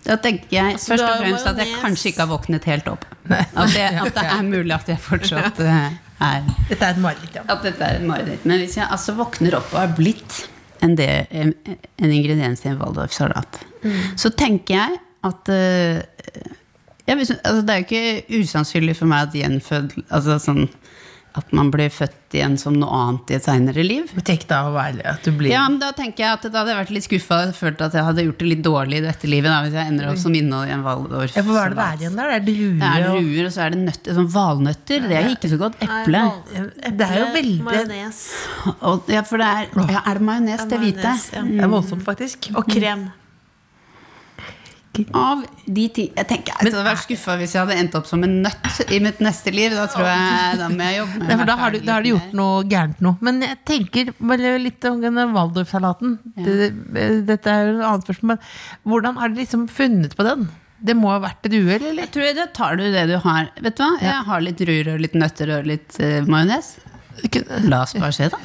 S6: Da tenker jeg
S5: Altså,
S6: først
S5: du har
S6: og fremst at jeg
S5: majones.
S6: kanskje ikke har våknet helt opp. At, jeg,
S5: *laughs*
S6: at det er mulig at jeg fortsatt øh, er
S3: Dette er et mareritt, ja.
S6: At dette er et mareritt. Men hvis jeg altså våkner opp og har blitt en, del, en, en ingrediens i en Waldorf-salat,
S3: Mm.
S6: så tenker jeg at eh, ja, hvis, altså, Det er jo ikke usannsynlig for meg at gjenfød altså, sånn, At man blir født igjen som noe annet i et seinere liv.
S3: Men Tenk da å være at du blir
S6: Ja, men Da tenker jeg at da hadde jeg vært litt skuffa og følt at jeg hadde gjort det litt dårlig i dette livet. Da, hvis jeg ender opp som innhold i en
S3: Ja, for Hva er det det
S6: Waldorf-salat.
S3: er igjen der? Det er druer
S6: Det er
S3: og
S6: druer, og så er det nøtter, sånn valnøtter. Det er ikke så godt. Eple.
S3: Det er jo veldig
S5: Majones
S6: Og, ja, for det er, ja, er det majones? Det hvite.
S5: majones, ja.
S6: Mm.
S3: Det er voldsomt, faktisk.
S5: og krem.
S3: tenker.
S6: Av de ti Jeg tenker jeg hadde vært skuffa hvis jeg hadde endt opp som en nøtt i mitt neste liv. Da tror jeg da må jeg jobbe med
S3: Nei, for da
S6: meg
S3: har, du,
S6: selv
S3: da har du
S6: litt
S3: gjort noe gærent nå. Men jeg tenker bare litt om denne Waldorf-salaten. Det- Dette er jo et annet spørsmål. Men hvordan har dere liksom funnet på den? Det må ha vært et uhell, eller?
S6: Jeg tror jeg, Da tar du det du har. Vet du hva? Jeg har litt rur og litt nøtter og litt uh, majones. La oss bare se, da.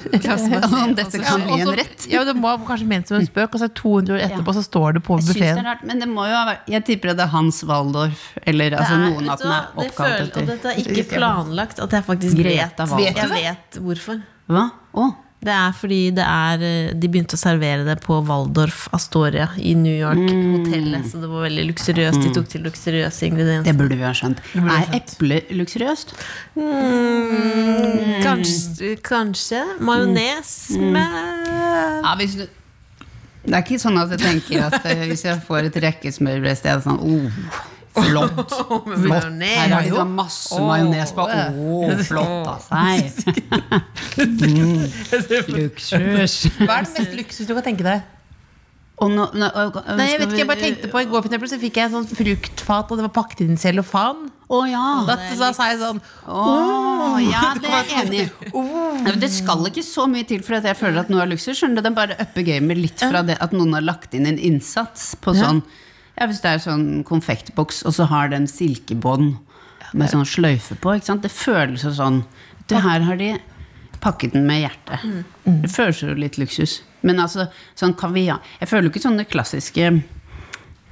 S6: Om dette kan bli en
S3: Også-
S6: rett.
S3: Ja, men det må ha kanskje ment som en spøk, og så 200 år etterpå så står det på
S6: Jeg synes det er
S3: buffeen.
S6: rart, men det må jo ha vært Jeg tipper at det er Hans Waldorf, eller altså, noen av dem er oppkalt
S5: Og
S6: etter
S5: dette er ikke planlagt, at jeg faktisk
S6: Greta
S5: vet,
S6: Waldorf.
S5: jeg vet hvorfor.
S6: Hva? Å,
S5: Det er fordi det er, eh, de begynte å servere det på Waldorf Astoria i New York.
S6: Mm.
S5: Hotellet, så det var veldig luksuriøst. De tok til luksuriøse
S6: det
S5: ingredienser.
S6: burde vi ha skjønt. Er eple luksuriøst?
S5: Kanskje, kanskje
S6: Mm.
S5: majones med
S6: Ja, hvis du det er ikke sånn at jeg tenker at eh, hvis jeg får et rekkesmørbrød er det sånn oh,
S3: *laughs*
S6: flott. Her
S5: Majones.
S6: har de sånn masse majones på. Å, flott
S3: *laughs*
S6: av seg. Mm. Luksus.
S3: Hva er det mest luksus du kan tenke deg?
S6: Og nå, nå, og- og-
S3: Nei, jeg
S6: skal
S3: vet ikke, jeg bare
S6: vi-
S3: tenkte på I går for eksempel, så fikk jeg et sånt fruktfat, og det var pakket inn i cellofan.
S6: Å ja.
S3: Da da sa jeg sånn
S6: Å, ja, *laughs* det er jeg enig i. Nei, men Det skal ikke så mye til for at jeg føler at noe er luksus. Skjønner du, Den bare upper gamet litt fra det at noen har lagt inn en innsats på sånn Ja, hvis det er sånn konfektboks, og så har den silkebånd med sånn sløyfe på, ikke sant. Det føles jo sånn Det her har de pakket den med hjertet. Mm. Det føles jo litt luksus. Men altså, sånn kaviar Jeg føler jo ikke sånne klassiske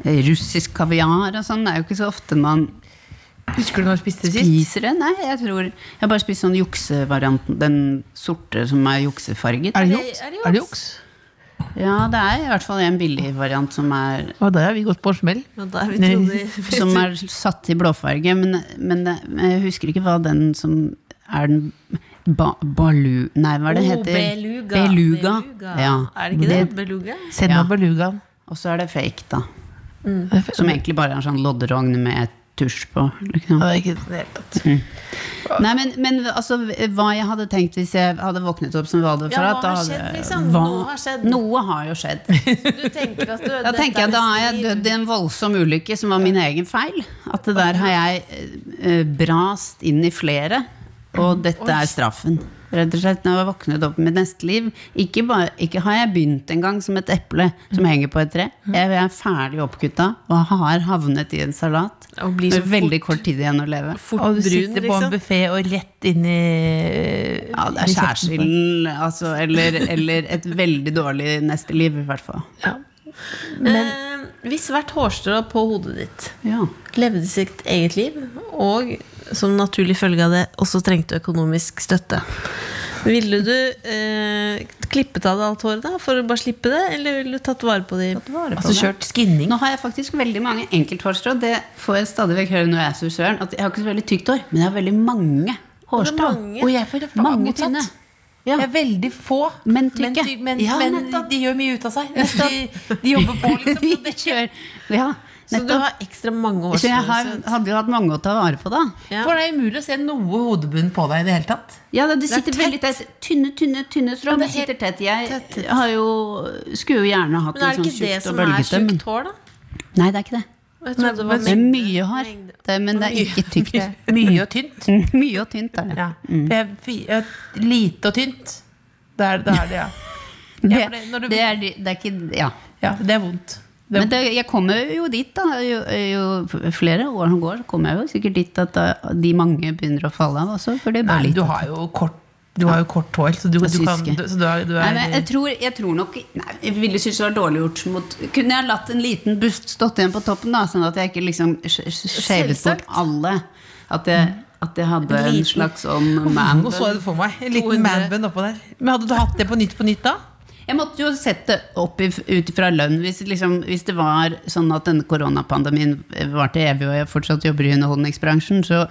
S6: eh, Russisk kaviar og sånn, det er jo ikke så ofte man
S3: Husker du når du spiste det sist?
S6: Spiser det? Nei, jeg tror Jeg har bare spist sånn juksevarianten. Den sorte som er juksefarget.
S3: Er det juks? Er det juks?
S6: Ja, det er i hvert fall en billig variant som
S5: *laughs*
S6: er,
S3: Og der har vi gått på en smell.
S5: Og der vi trodde
S6: som er satt i blåfarge. Men, men det, men jeg husker ikke hva den som er den ba, Balu... Nei, hva er det
S5: Oh,
S6: heter?
S5: Beluga.
S6: Beluga.
S5: Beluga.
S6: Ja.
S5: Er det ikke det? Beluga?
S3: Send
S6: Ja.
S3: meg belugaen.
S6: Og så er det fake, da. Som egentlig bare er en sånn lodderogn med et tusj på. Liksom.
S3: Ja, det er ikke det hele tatt.
S6: Nei, men, men altså, hva jeg hadde tenkt hvis jeg hadde våknet opp som Valdor
S5: Ja, hva
S6: da
S5: har
S6: hadde-
S5: skjedd, liksom?
S6: hva-
S5: Noe har skjedd.
S6: Noe har jo
S5: *laughs*
S6: skjedd.
S5: Du tenker at du,
S6: *laughs* Da tenker jeg da har jeg
S5: liksom
S6: dødd i en voldsom ulykke som var min egen feil. At det der har jeg eh, brast inn i flere. Og dette er straffen. Rett og slett, Når jeg våknet opp med neste liv Ikke, bare, ikke har jeg begynt engang som et eple som henger på et tre. Jeg er ferdig oppkutta og har havnet i en salat.
S5: Og blir så
S6: Med veldig
S5: fort-
S6: kort tid igjen å leve.
S5: Fort
S3: Og du
S5: brun,
S3: sitter på en
S5: liksom.
S3: buffé og rett inn i
S6: Ja, det er skjærsilden, altså. Eller, eller et veldig dårlig neste liv, i hvert fall.
S5: Eh, hvis hvert hårstrå på hodet ditt
S6: Ja.
S5: levde sitt eget liv, og som naturlig følge av det også trengte økonomisk støtte, ville du eh, klippet av deg alt håret da, for å bare slippe det, eller ville du tatt vare på det?
S3: Altså
S6: liksom.
S3: kjørt skinning.
S6: Nå har jeg faktisk veldig mange enkelthårstrå. Det får jeg stadig vekk høre når jeg er frisøren. At jeg har ikke så veldig tykt hår, men jeg har veldig mange hårstrå.
S5: mange.
S3: Og jeg føler faen
S6: Mange
S3: motsatt.
S6: tynne. Ja.
S3: Det er veldig få,
S6: Men tykke.
S3: ty- men,
S6: Ja,
S3: men
S6: nettopp.
S3: de gjør mye ut av
S6: *laughs*
S3: seg. De, de jobber på, liksom.
S6: De
S3: og det-
S6: kjører. Ja,
S5: Så du
S6: nettopp.
S5: har ekstra mange
S6: Så
S5: hårstrå.
S6: jeg har,
S5: så-
S6: hadde jo hatt mange å ta vare på, da.
S5: Ja.
S3: For det er umulig å se noe hodebunn på deg i det hele tatt.
S6: Ja, da, de sitter veldig tett. Tynne, tynne, tynne strå.
S5: det
S6: De
S5: er
S6: sitter
S5: helt
S6: tett. Jeg har jo, skulle jo gjerne hatt
S5: Men er det
S6: en sånn
S5: ikke det
S6: tjukt og
S5: som er
S6: bølgete. men-
S5: tjukt hår, da?
S6: Nei, det er ikke det.
S5: Jeg trodde det var
S6: Det er
S5: mengde-
S6: mye hår,
S5: mengde.
S6: det, men det er ikke tykt.
S3: *laughs* Mye og tynt.
S6: Mye og tynt er det.
S3: Ja. For jeg, fi- jeg, lite og tynt. Det er det, er det ja.
S6: Det,
S3: Ja, for det- når du-
S6: det, er, de- det er ikke Ja.
S3: ja. Det er vondt. Det er
S6: Men det, jeg kommer jo dit, da. Jo, jo flere år som går, så kommer jeg jo sikkert dit at da, de mange begynner å falle av også. For det er bare
S3: Nei,
S6: litt.
S3: du har jo kort du har jo kort hår, så du,
S6: Jeg
S3: du
S6: syns
S3: kan
S6: ikke.
S3: du, så du er, du
S6: Nei,
S3: er,
S6: men jeg tror, jeg tror nok nei, Jeg ville synes det var dårlig gjort mot Kunne jeg latt en liten bust stått igjen på toppen, da, sånn at jeg ikke liksom sk- sk- skjevet bort alle? At jeg, at jeg hadde en slags sånn man
S3: Nå så jeg Mm. det for meg. En liten manbun oppå der. Men hadde du hatt det på Nytt på Nytt da?
S6: Jeg måtte jo sette opp i, ut fra lønn hvis, liksom, hvis det var sånn at denne koronapandemien varte evig, og jeg fortsatt jobber i underholdningsbransjen, så,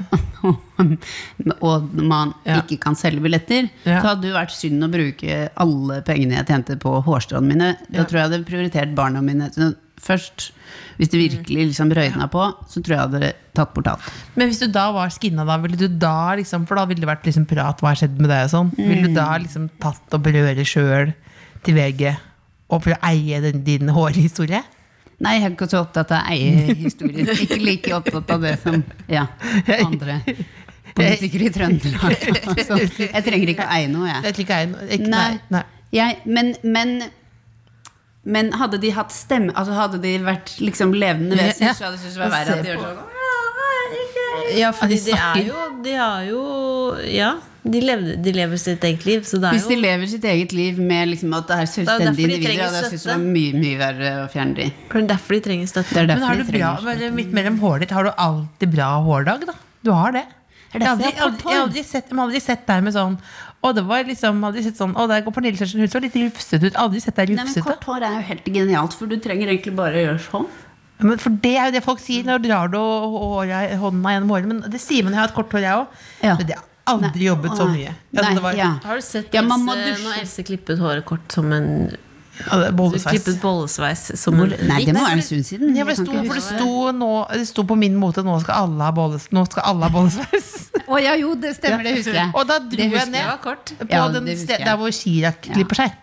S6: *laughs* og man
S3: Ja.
S6: ikke kan selge billetter,
S3: Ja.
S6: så hadde det jo vært synd å bruke alle pengene jeg tjente på hårstråene mine. Da tror jeg jeg hadde prioritert barna mine. Så først, hvis det virkelig liksom røyna på, så tror jeg jeg hadde tatt bort alt.
S3: Men hvis du da var skinna, da ville du da liksom For da ville det vært liksom prat hva har skjedd med deg og sånn. Ville du da liksom tatt og berøre sjøl til VG og for å eie den, din hårhistorie?
S6: Nei, jeg er ikke så opptatt av
S3: *laughs*
S6: eierhistorier. Ikke like opptatt av det som ja, andre politikere i *laughs* Trøndelag. Altså, jeg trenger ikke å eie noe, jeg.
S3: Jeg tror ikke jeg er noe- ikke-
S6: Nei.
S3: nei, nei.
S6: Jeg, men, men, men hadde de hatt stemme altså Hadde de vært liksom levende vesener, så hadde jeg syntes det var verre at de gjorde sånn.
S5: Ja, fordi de,
S3: snakker.
S5: er jo, de er jo Ja, de, levde, de lever sitt eget liv, så det er
S6: Hvis de
S5: jo
S6: lever sitt eget liv med liksom at det er
S5: derfor de
S6: selvstendige individer,
S5: trenger
S6: hadde jeg syntes det
S5: støtte.
S6: var mye, mye verre å fjerne de.
S5: for det er derfor de trenger støtte.
S6: Det er
S3: Men har du
S6: derfor de
S3: bra,
S6: trenger
S3: men midt mellom håret ditt, har du alltid bra hårdag, da? Du har det. Jeg har
S6: derfor
S3: aldri,
S6: jeg har
S3: aldri,
S6: kort
S3: jeg har aldri sett, jeg har aldri sett deg med sånn Å, det var liksom jeg har aldri sett sånn, å, der går Pernille Sørensen ut, så litt rufsete ut. Aldri sett deg
S6: Nei, men
S3: rufsete.
S6: Kort hår er jo helt genialt, for du trenger egentlig bare å gjøre sånn.
S3: Ja, Men for det er jo det folk sier når du drar du håret, hånda gjennom håret. Men det sier man jeg har hatt kort hår, jeg òg.
S6: Ja.
S3: Men jeg har aldri jobbet så mye.
S6: Nei,
S3: Altså, det var
S6: ja.
S5: Har du sett
S6: Ja,
S5: Else,
S6: man må
S5: når
S6: dusje.
S5: Else klippet håret kort som en
S3: ja, det er bollesveis.
S5: Klippet bollesveis som en
S6: Nei, det må være en stund siden.
S3: Ja, for det,
S6: Jeg
S3: sto,
S6: kan ikke
S3: for det,
S6: huske.
S3: sto nå, det sto på min mote 'nå skal alle ha bolles, nå skal alle ha bollesveis'.
S6: Å ja, jo, det stemmer, det husker jeg.
S3: Og da dro
S6: Det
S3: jeg
S6: husker
S3: ned
S6: jeg.
S3: på
S6: Ja, det
S3: den
S6: husker
S3: sted,
S6: jeg.
S3: der hvor Chirag klipper seg.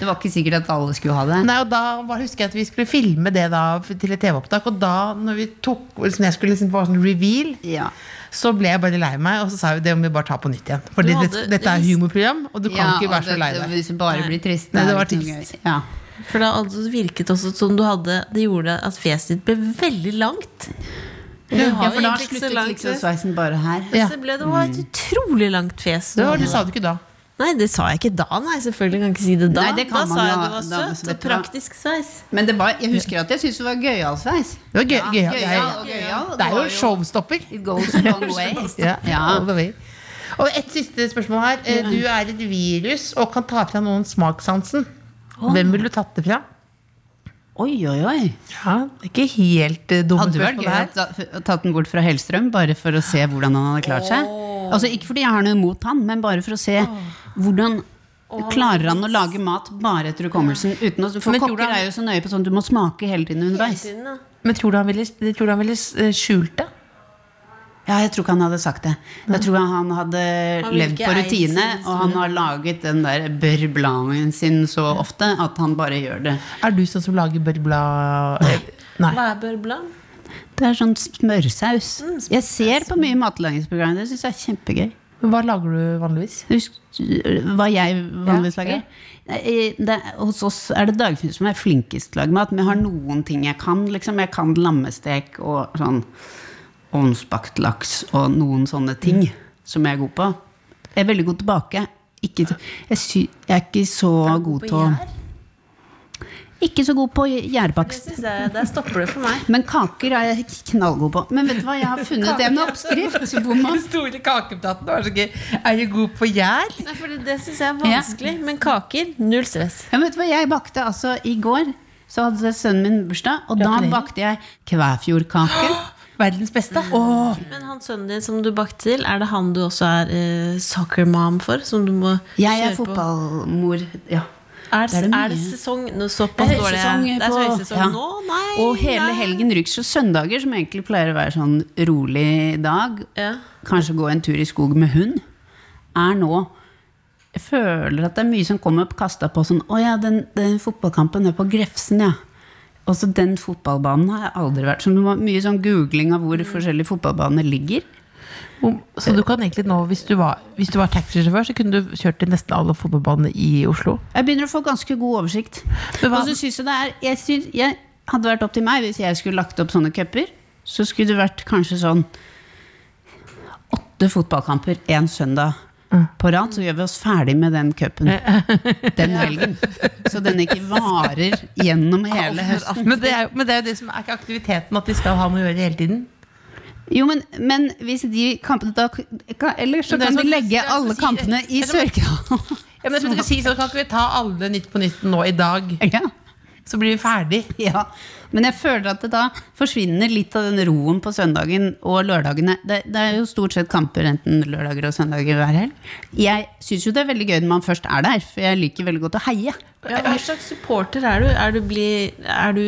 S6: Det var ikke sikkert at alle skulle ha det.
S3: Nei, og da bare husker jeg at vi skulle filme det da f- til et TV-opptak, og da når vi tok liksom, Jeg skulle liksom få sånn reveal,
S6: Ja.
S3: så ble jeg bare lei meg, og så sa vi det må vi bare ta på nytt igjen. For
S5: Du
S3: dette,
S5: hadde-
S3: dette er humorprogram, og du kan
S6: Ja,
S3: ikke
S6: og
S3: være så
S6: det-
S3: lei
S6: det-
S3: deg.
S6: Hvis det bare blir trist.
S3: Nei,
S6: er
S3: det var
S6: ikke noe
S3: trist.
S6: gøy. Ja.
S5: For det hadde virket også som du hadde Det gjorde at fjeset ditt ble veldig langt. Og Du
S6: ja,
S5: har
S6: for
S5: jo
S6: da
S5: egentlig ikke så
S6: sluttet
S5: langt
S6: liksom
S5: fjes.
S6: sveisen bare her.
S3: Ja.
S5: Så ble det var et utrolig langt fjes.
S3: Det, var, det sa du ikke da.
S5: Nei, det sa jeg ikke da, nei. Selvfølgelig kan jeg ikke si det da.
S6: Nei, det
S5: da
S6: kan man
S5: sa jeg
S6: jo-
S5: det var
S6: da-
S5: søt
S6: vet
S5: og
S6: du hva?
S5: praktisk sveis.
S6: Men det var, jeg husker at jeg syntes det var gøyal sveis.
S3: Det var gøy. gøy,
S6: gøyal
S3: ja, ja.
S6: og gøyal, og
S3: Det er jo
S6: var
S3: en showstopper.
S6: It goes a long way.
S3: Ja,
S6: Ja.
S3: all the way. Og et siste spørsmål her. Eh, Du er et virus og kan ta fra noen smakssansen. Hvem ville du tatt det fra?
S6: Oi, oi, oi.
S3: Ja, det er ikke helt eh, dumme
S6: Hadde det vært
S3: spørsmål
S6: gøy å
S3: her.
S6: ta- tatt den bort fra Hellstrøm, bare for å se hvordan han hadde klart seg. Altså Ikke fordi jeg har noe imot han, men bare for å se hvordan Klarer han å lage mat bare etter hukommelsen? Uten å, for
S3: Men tror du
S6: kokker
S3: han-
S6: er jo så nøye på sånn, du må smake hele tiden underveis.
S3: Men tror du han ville, tror du han ville eh, skjult det?
S6: Ja, jeg tror ikke han hadde sagt det. Jeg tror han hadde
S5: Han ville
S6: levd
S5: ikke
S6: på
S5: eid
S6: rutine,
S5: sin
S6: og han har laget den der børbladen sin så ofte at han bare gjør det.
S3: Er du sånn som lager børbla Nei.
S5: Hva er børblan?
S6: Det er sånn Mm, smørsaus. Jeg ser på mye matlagingsprogrammer, det syns jeg er kjempegøy.
S3: Men Hva lager du vanligvis?
S6: Husk hva jeg vanligvis
S3: Ja,
S6: lager. Nei, Det, hos oss er det Dagfinn som er flinkest til å lage mat, men jeg har noen ting jeg kan. Liksom. Jeg kan lammestek og sånn ovnsbakt laks og noen sånne ting som jeg er god på. Jeg er veldig god til å bake. Ikke, jeg, sy, jeg er ikke så god til å Ikke så god på gjærbakst.
S5: Synes jeg, der stopper det for meg.
S6: Men kaker er jeg knallgod på. Men vet du hva, jeg har funnet en oppskrift hvor man
S3: store kakeplaten var så gøy. Er du god på gjær?
S5: Nei, for det, det syns jeg er vanskelig. Men kaker, null stress.
S6: Ja, men vet du hva, jeg bakte altså i går så hadde sønnen min bursdag, og da
S3: Gratulerer.
S6: bakte jeg kvæfjordkake.
S3: Verdens beste.
S5: Men han sønnen din som du bakte til, er det han du også er eh, soccer mom for? Som du må
S6: Jeg
S5: kjøre
S6: er
S5: på?
S6: fotballmor. Ja.
S5: Er det,
S6: Det er det
S5: er det
S6: mye.
S5: sesong nå, såpass dårlig?
S6: høysesong
S5: det er
S6: på-
S5: høysesong
S6: ja.
S5: nå? Nei!
S6: Og hele
S5: nei.
S6: helgen ryker, så søndager, som egentlig pleier å være sånn rolig dag,
S5: Ja.
S6: kanskje gå en tur i skog med hund, er nå Jeg føler at det er mye som kommer opp kasta på sånn Å ja, den, den fotballkampen er på Grefsen, ja. Og så den fotballbanen har jeg aldri vært. Så det var mye sånn googling av
S5: Mm.
S6: hvor forskjellige fotballbaner ligger.
S3: Om- Så du kan egentlig nå, hvis du var, hvis du var taxisjåfør, så kunne du kjørt til nesten alle fotballbanene i Oslo.
S6: Jeg begynner å få ganske god oversikt.
S3: Men hva-
S6: Og så synes jeg det er jeg, synes, jeg Hadde vært opp til meg hvis jeg skulle lagt opp sånne cuper, så skulle det vært kanskje sånn åtte fotballkamper én søndag på rad, så gjør vi oss ferdig med den
S3: *laughs*
S6: cupen den helgen. Så den ikke varer gjennom hele høsten.
S3: Men det, er, jo- men det er jo det som er ikke aktiviteten, at de skal ha noe å gjøre hele tiden.
S6: Jo, men, men hvis de kampene da kan- Ellers så
S3: Men det er
S6: kan de
S3: sånn-
S6: legge alle kampene i Sørkedalen.
S3: Ja, men jeg skulle ikke si, så Kan ikke vi ta alle Nytt på nytt nå i dag,
S6: *laughs* Ja.
S3: så blir vi ferdig?
S6: *laughs* Ja, men jeg føler at det da forsvinner litt av den roen på søndagen og lørdagene. Det, det er jo stort sett kamper enten lørdager og søndager hver helg. Jeg syns jo det er veldig gøy når man først er der, for jeg liker veldig godt å heie.
S5: Ja, hva slags supporter er du? Er du, bli, er du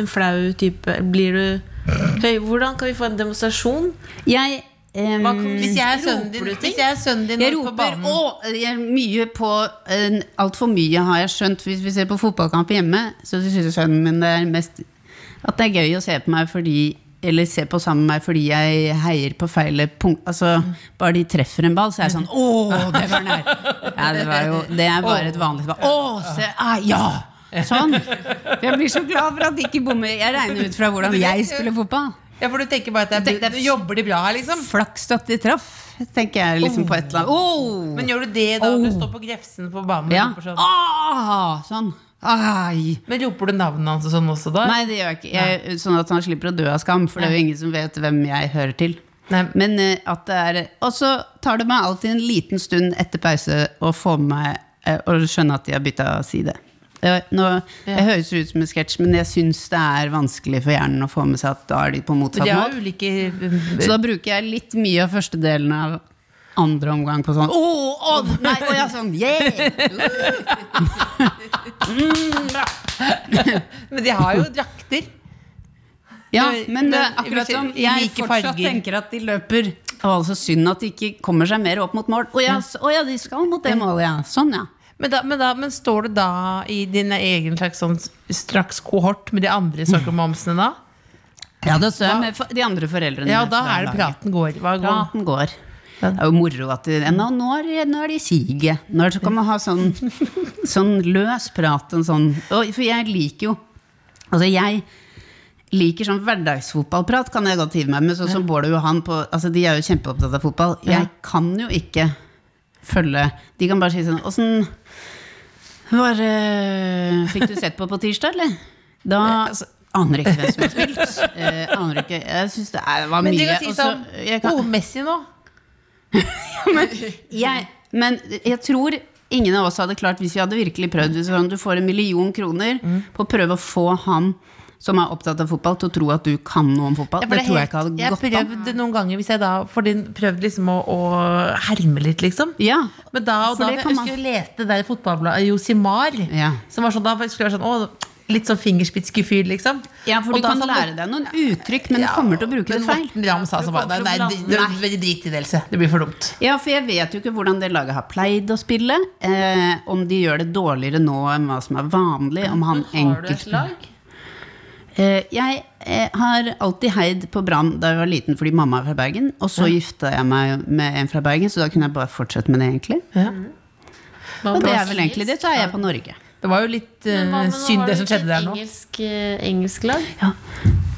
S5: en flau type? Blir du høy? Hvordan kan vi få en demonstrasjon?
S6: Jeg, ehm,
S5: Hva kan-
S3: Hvis jeg er sønnen din,
S5: Roper du ting?
S3: hvis jeg er sønnen din
S6: jeg
S3: nå på
S6: roper
S3: banen
S6: å, jeg er mye på eh, Altfor mye har jeg skjønt. Hvis vi ser på fotballkamp hjemme, så syns sønnen min det er mest At det er gøy å se på meg fordi eller se på sammen med meg fordi jeg heier på feil punkt. Altså, bare de treffer en ball, så er *laughs* jeg sånn Å, det var nær! Ja, det, var jo, det er bare et vanlig ball. Å, se! Ah, ja! Sånn. Jeg blir så glad for at de ikke bommer. Jeg regner ut fra hvordan jeg spiller fotball.
S3: Ja, for du tenker bare at det er, du jobber de bra her, liksom?
S6: Flaks at de traff, tenker jeg liksom på et eller annet.
S3: Men gjør du det da når du står på Grefsen på banen? og
S6: Ja.
S3: roper sånn?
S6: Ah, sånn. Ai.
S3: Men roper du navnet hans og sånn også da?
S6: Nei, det gjør jeg ikke. Jeg, sånn at han slipper å dø av skam, for det er jo ingen som vet hvem jeg hører til.
S3: Nei.
S6: Men eh, at det er Og så tar det meg alltid en liten stund etter pause å få med meg eh, Å skjønne at de har bytta side. Det- Nå, Jeg høres ut som en sketsj, men jeg syns det er vanskelig for hjernen å få med seg at da er de på motsatt
S3: De har
S6: mål.
S3: jo ulike eh,
S6: Så da bruker jeg litt mye av første delen av andre omgang på sånn Å, Odd! Nei, å ja, sånn. Yeah!
S3: *laughs* Men de har jo drakter.
S6: Ja,
S3: Det-
S6: men det er
S3: men
S6: akkurat
S3: vi
S6: som
S3: ser
S6: jeg
S3: like
S6: fortsatt
S3: farger.
S6: tenker at de løper. Det var altså synd at de ikke kommer seg mer opp mot mål. Å
S3: Mm.
S6: ja, s- å ja de skal mot det målet, ja. Sånn, ja.
S3: Men, da, men, da, men står du da i din egen slags sånn straks kohort med de andre sokkermomsene da?
S6: Ja, da står jeg med for- de andre foreldrene.
S3: Ja, da
S6: fra
S3: er det
S6: laget.
S3: praten går. Hva går?
S6: Praten går. Det er jo moro at de, nå, nå, er, de- nå er de i siget. Nå er det- så kan man ha sånn, sånn løs prat. En sånn, og, for jeg liker jo Altså, jeg liker sånn hverdagsfotballprat, kan jeg godt hive meg med. Sånn som Bård og Johan, på, altså, de er jo kjempeopptatt av fotball. Jeg kan jo ikke følge De kan bare si sånn Åssen var eh, Fikk du sett på på tirsdag, eller? Da aner jeg ikke hvem som har spilt. Eh, aner ikke Jeg syns det er, var
S3: Men
S6: mye.
S3: de kan si
S6: og så-
S3: sånn
S6: jeg kan-
S3: Å, Messi nå!
S6: jeg, men jeg tror ingen av oss hadde klart, hvis vi hadde virkelig prøvd hvis sånn, Du får en million kroner
S3: Mm.
S6: på å prøve å få han som er opptatt av fotball, til å tro at du kan noe om fotball.
S3: Ja, for
S6: det,
S3: er
S6: tror
S3: helt-
S6: jeg ikke hadde
S3: jeg
S6: gått an.
S3: prøvde noen ganger, hvis jeg da fordi prøvde liksom å, å herme litt, liksom.
S6: Ja.
S3: Men da og
S6: For
S3: da
S6: det
S3: jeg
S6: kan
S3: husker jeg leste det der fotballbladet Josimar.
S6: Ja.
S3: Som var sånn, da skulle jeg være sånn, å, litt sånn fingerspitzgefühl, liksom.
S6: ja, for
S3: Og
S6: du
S3: da
S6: kan
S3: sa
S6: lære deg noen uttrykk, men du kommer til å bruke det
S3: men
S6: feil.
S3: Morten Ramm sa som bare Nei, nei, det- det- det- drit i det, Else. Det blir for dumt.
S6: Ja, for jeg vet jo ikke hvordan det laget har pleid å spille. Eh, om de gjør det dårligere nå enn hva som er vanlig. Om han enkelt Eh, jeg eh, har alltid heid på Brann da jeg var liten fordi mamma er fra Bergen. Og så gifta jeg meg med en fra Bergen, så da kunne jeg bare fortsette med det. egentlig Og det er vel egentlig det, så er jeg på Norge.
S3: Det var jo litt eh, synd, det som skjedde der nå.
S5: Engelsk, eh, engelsk lag?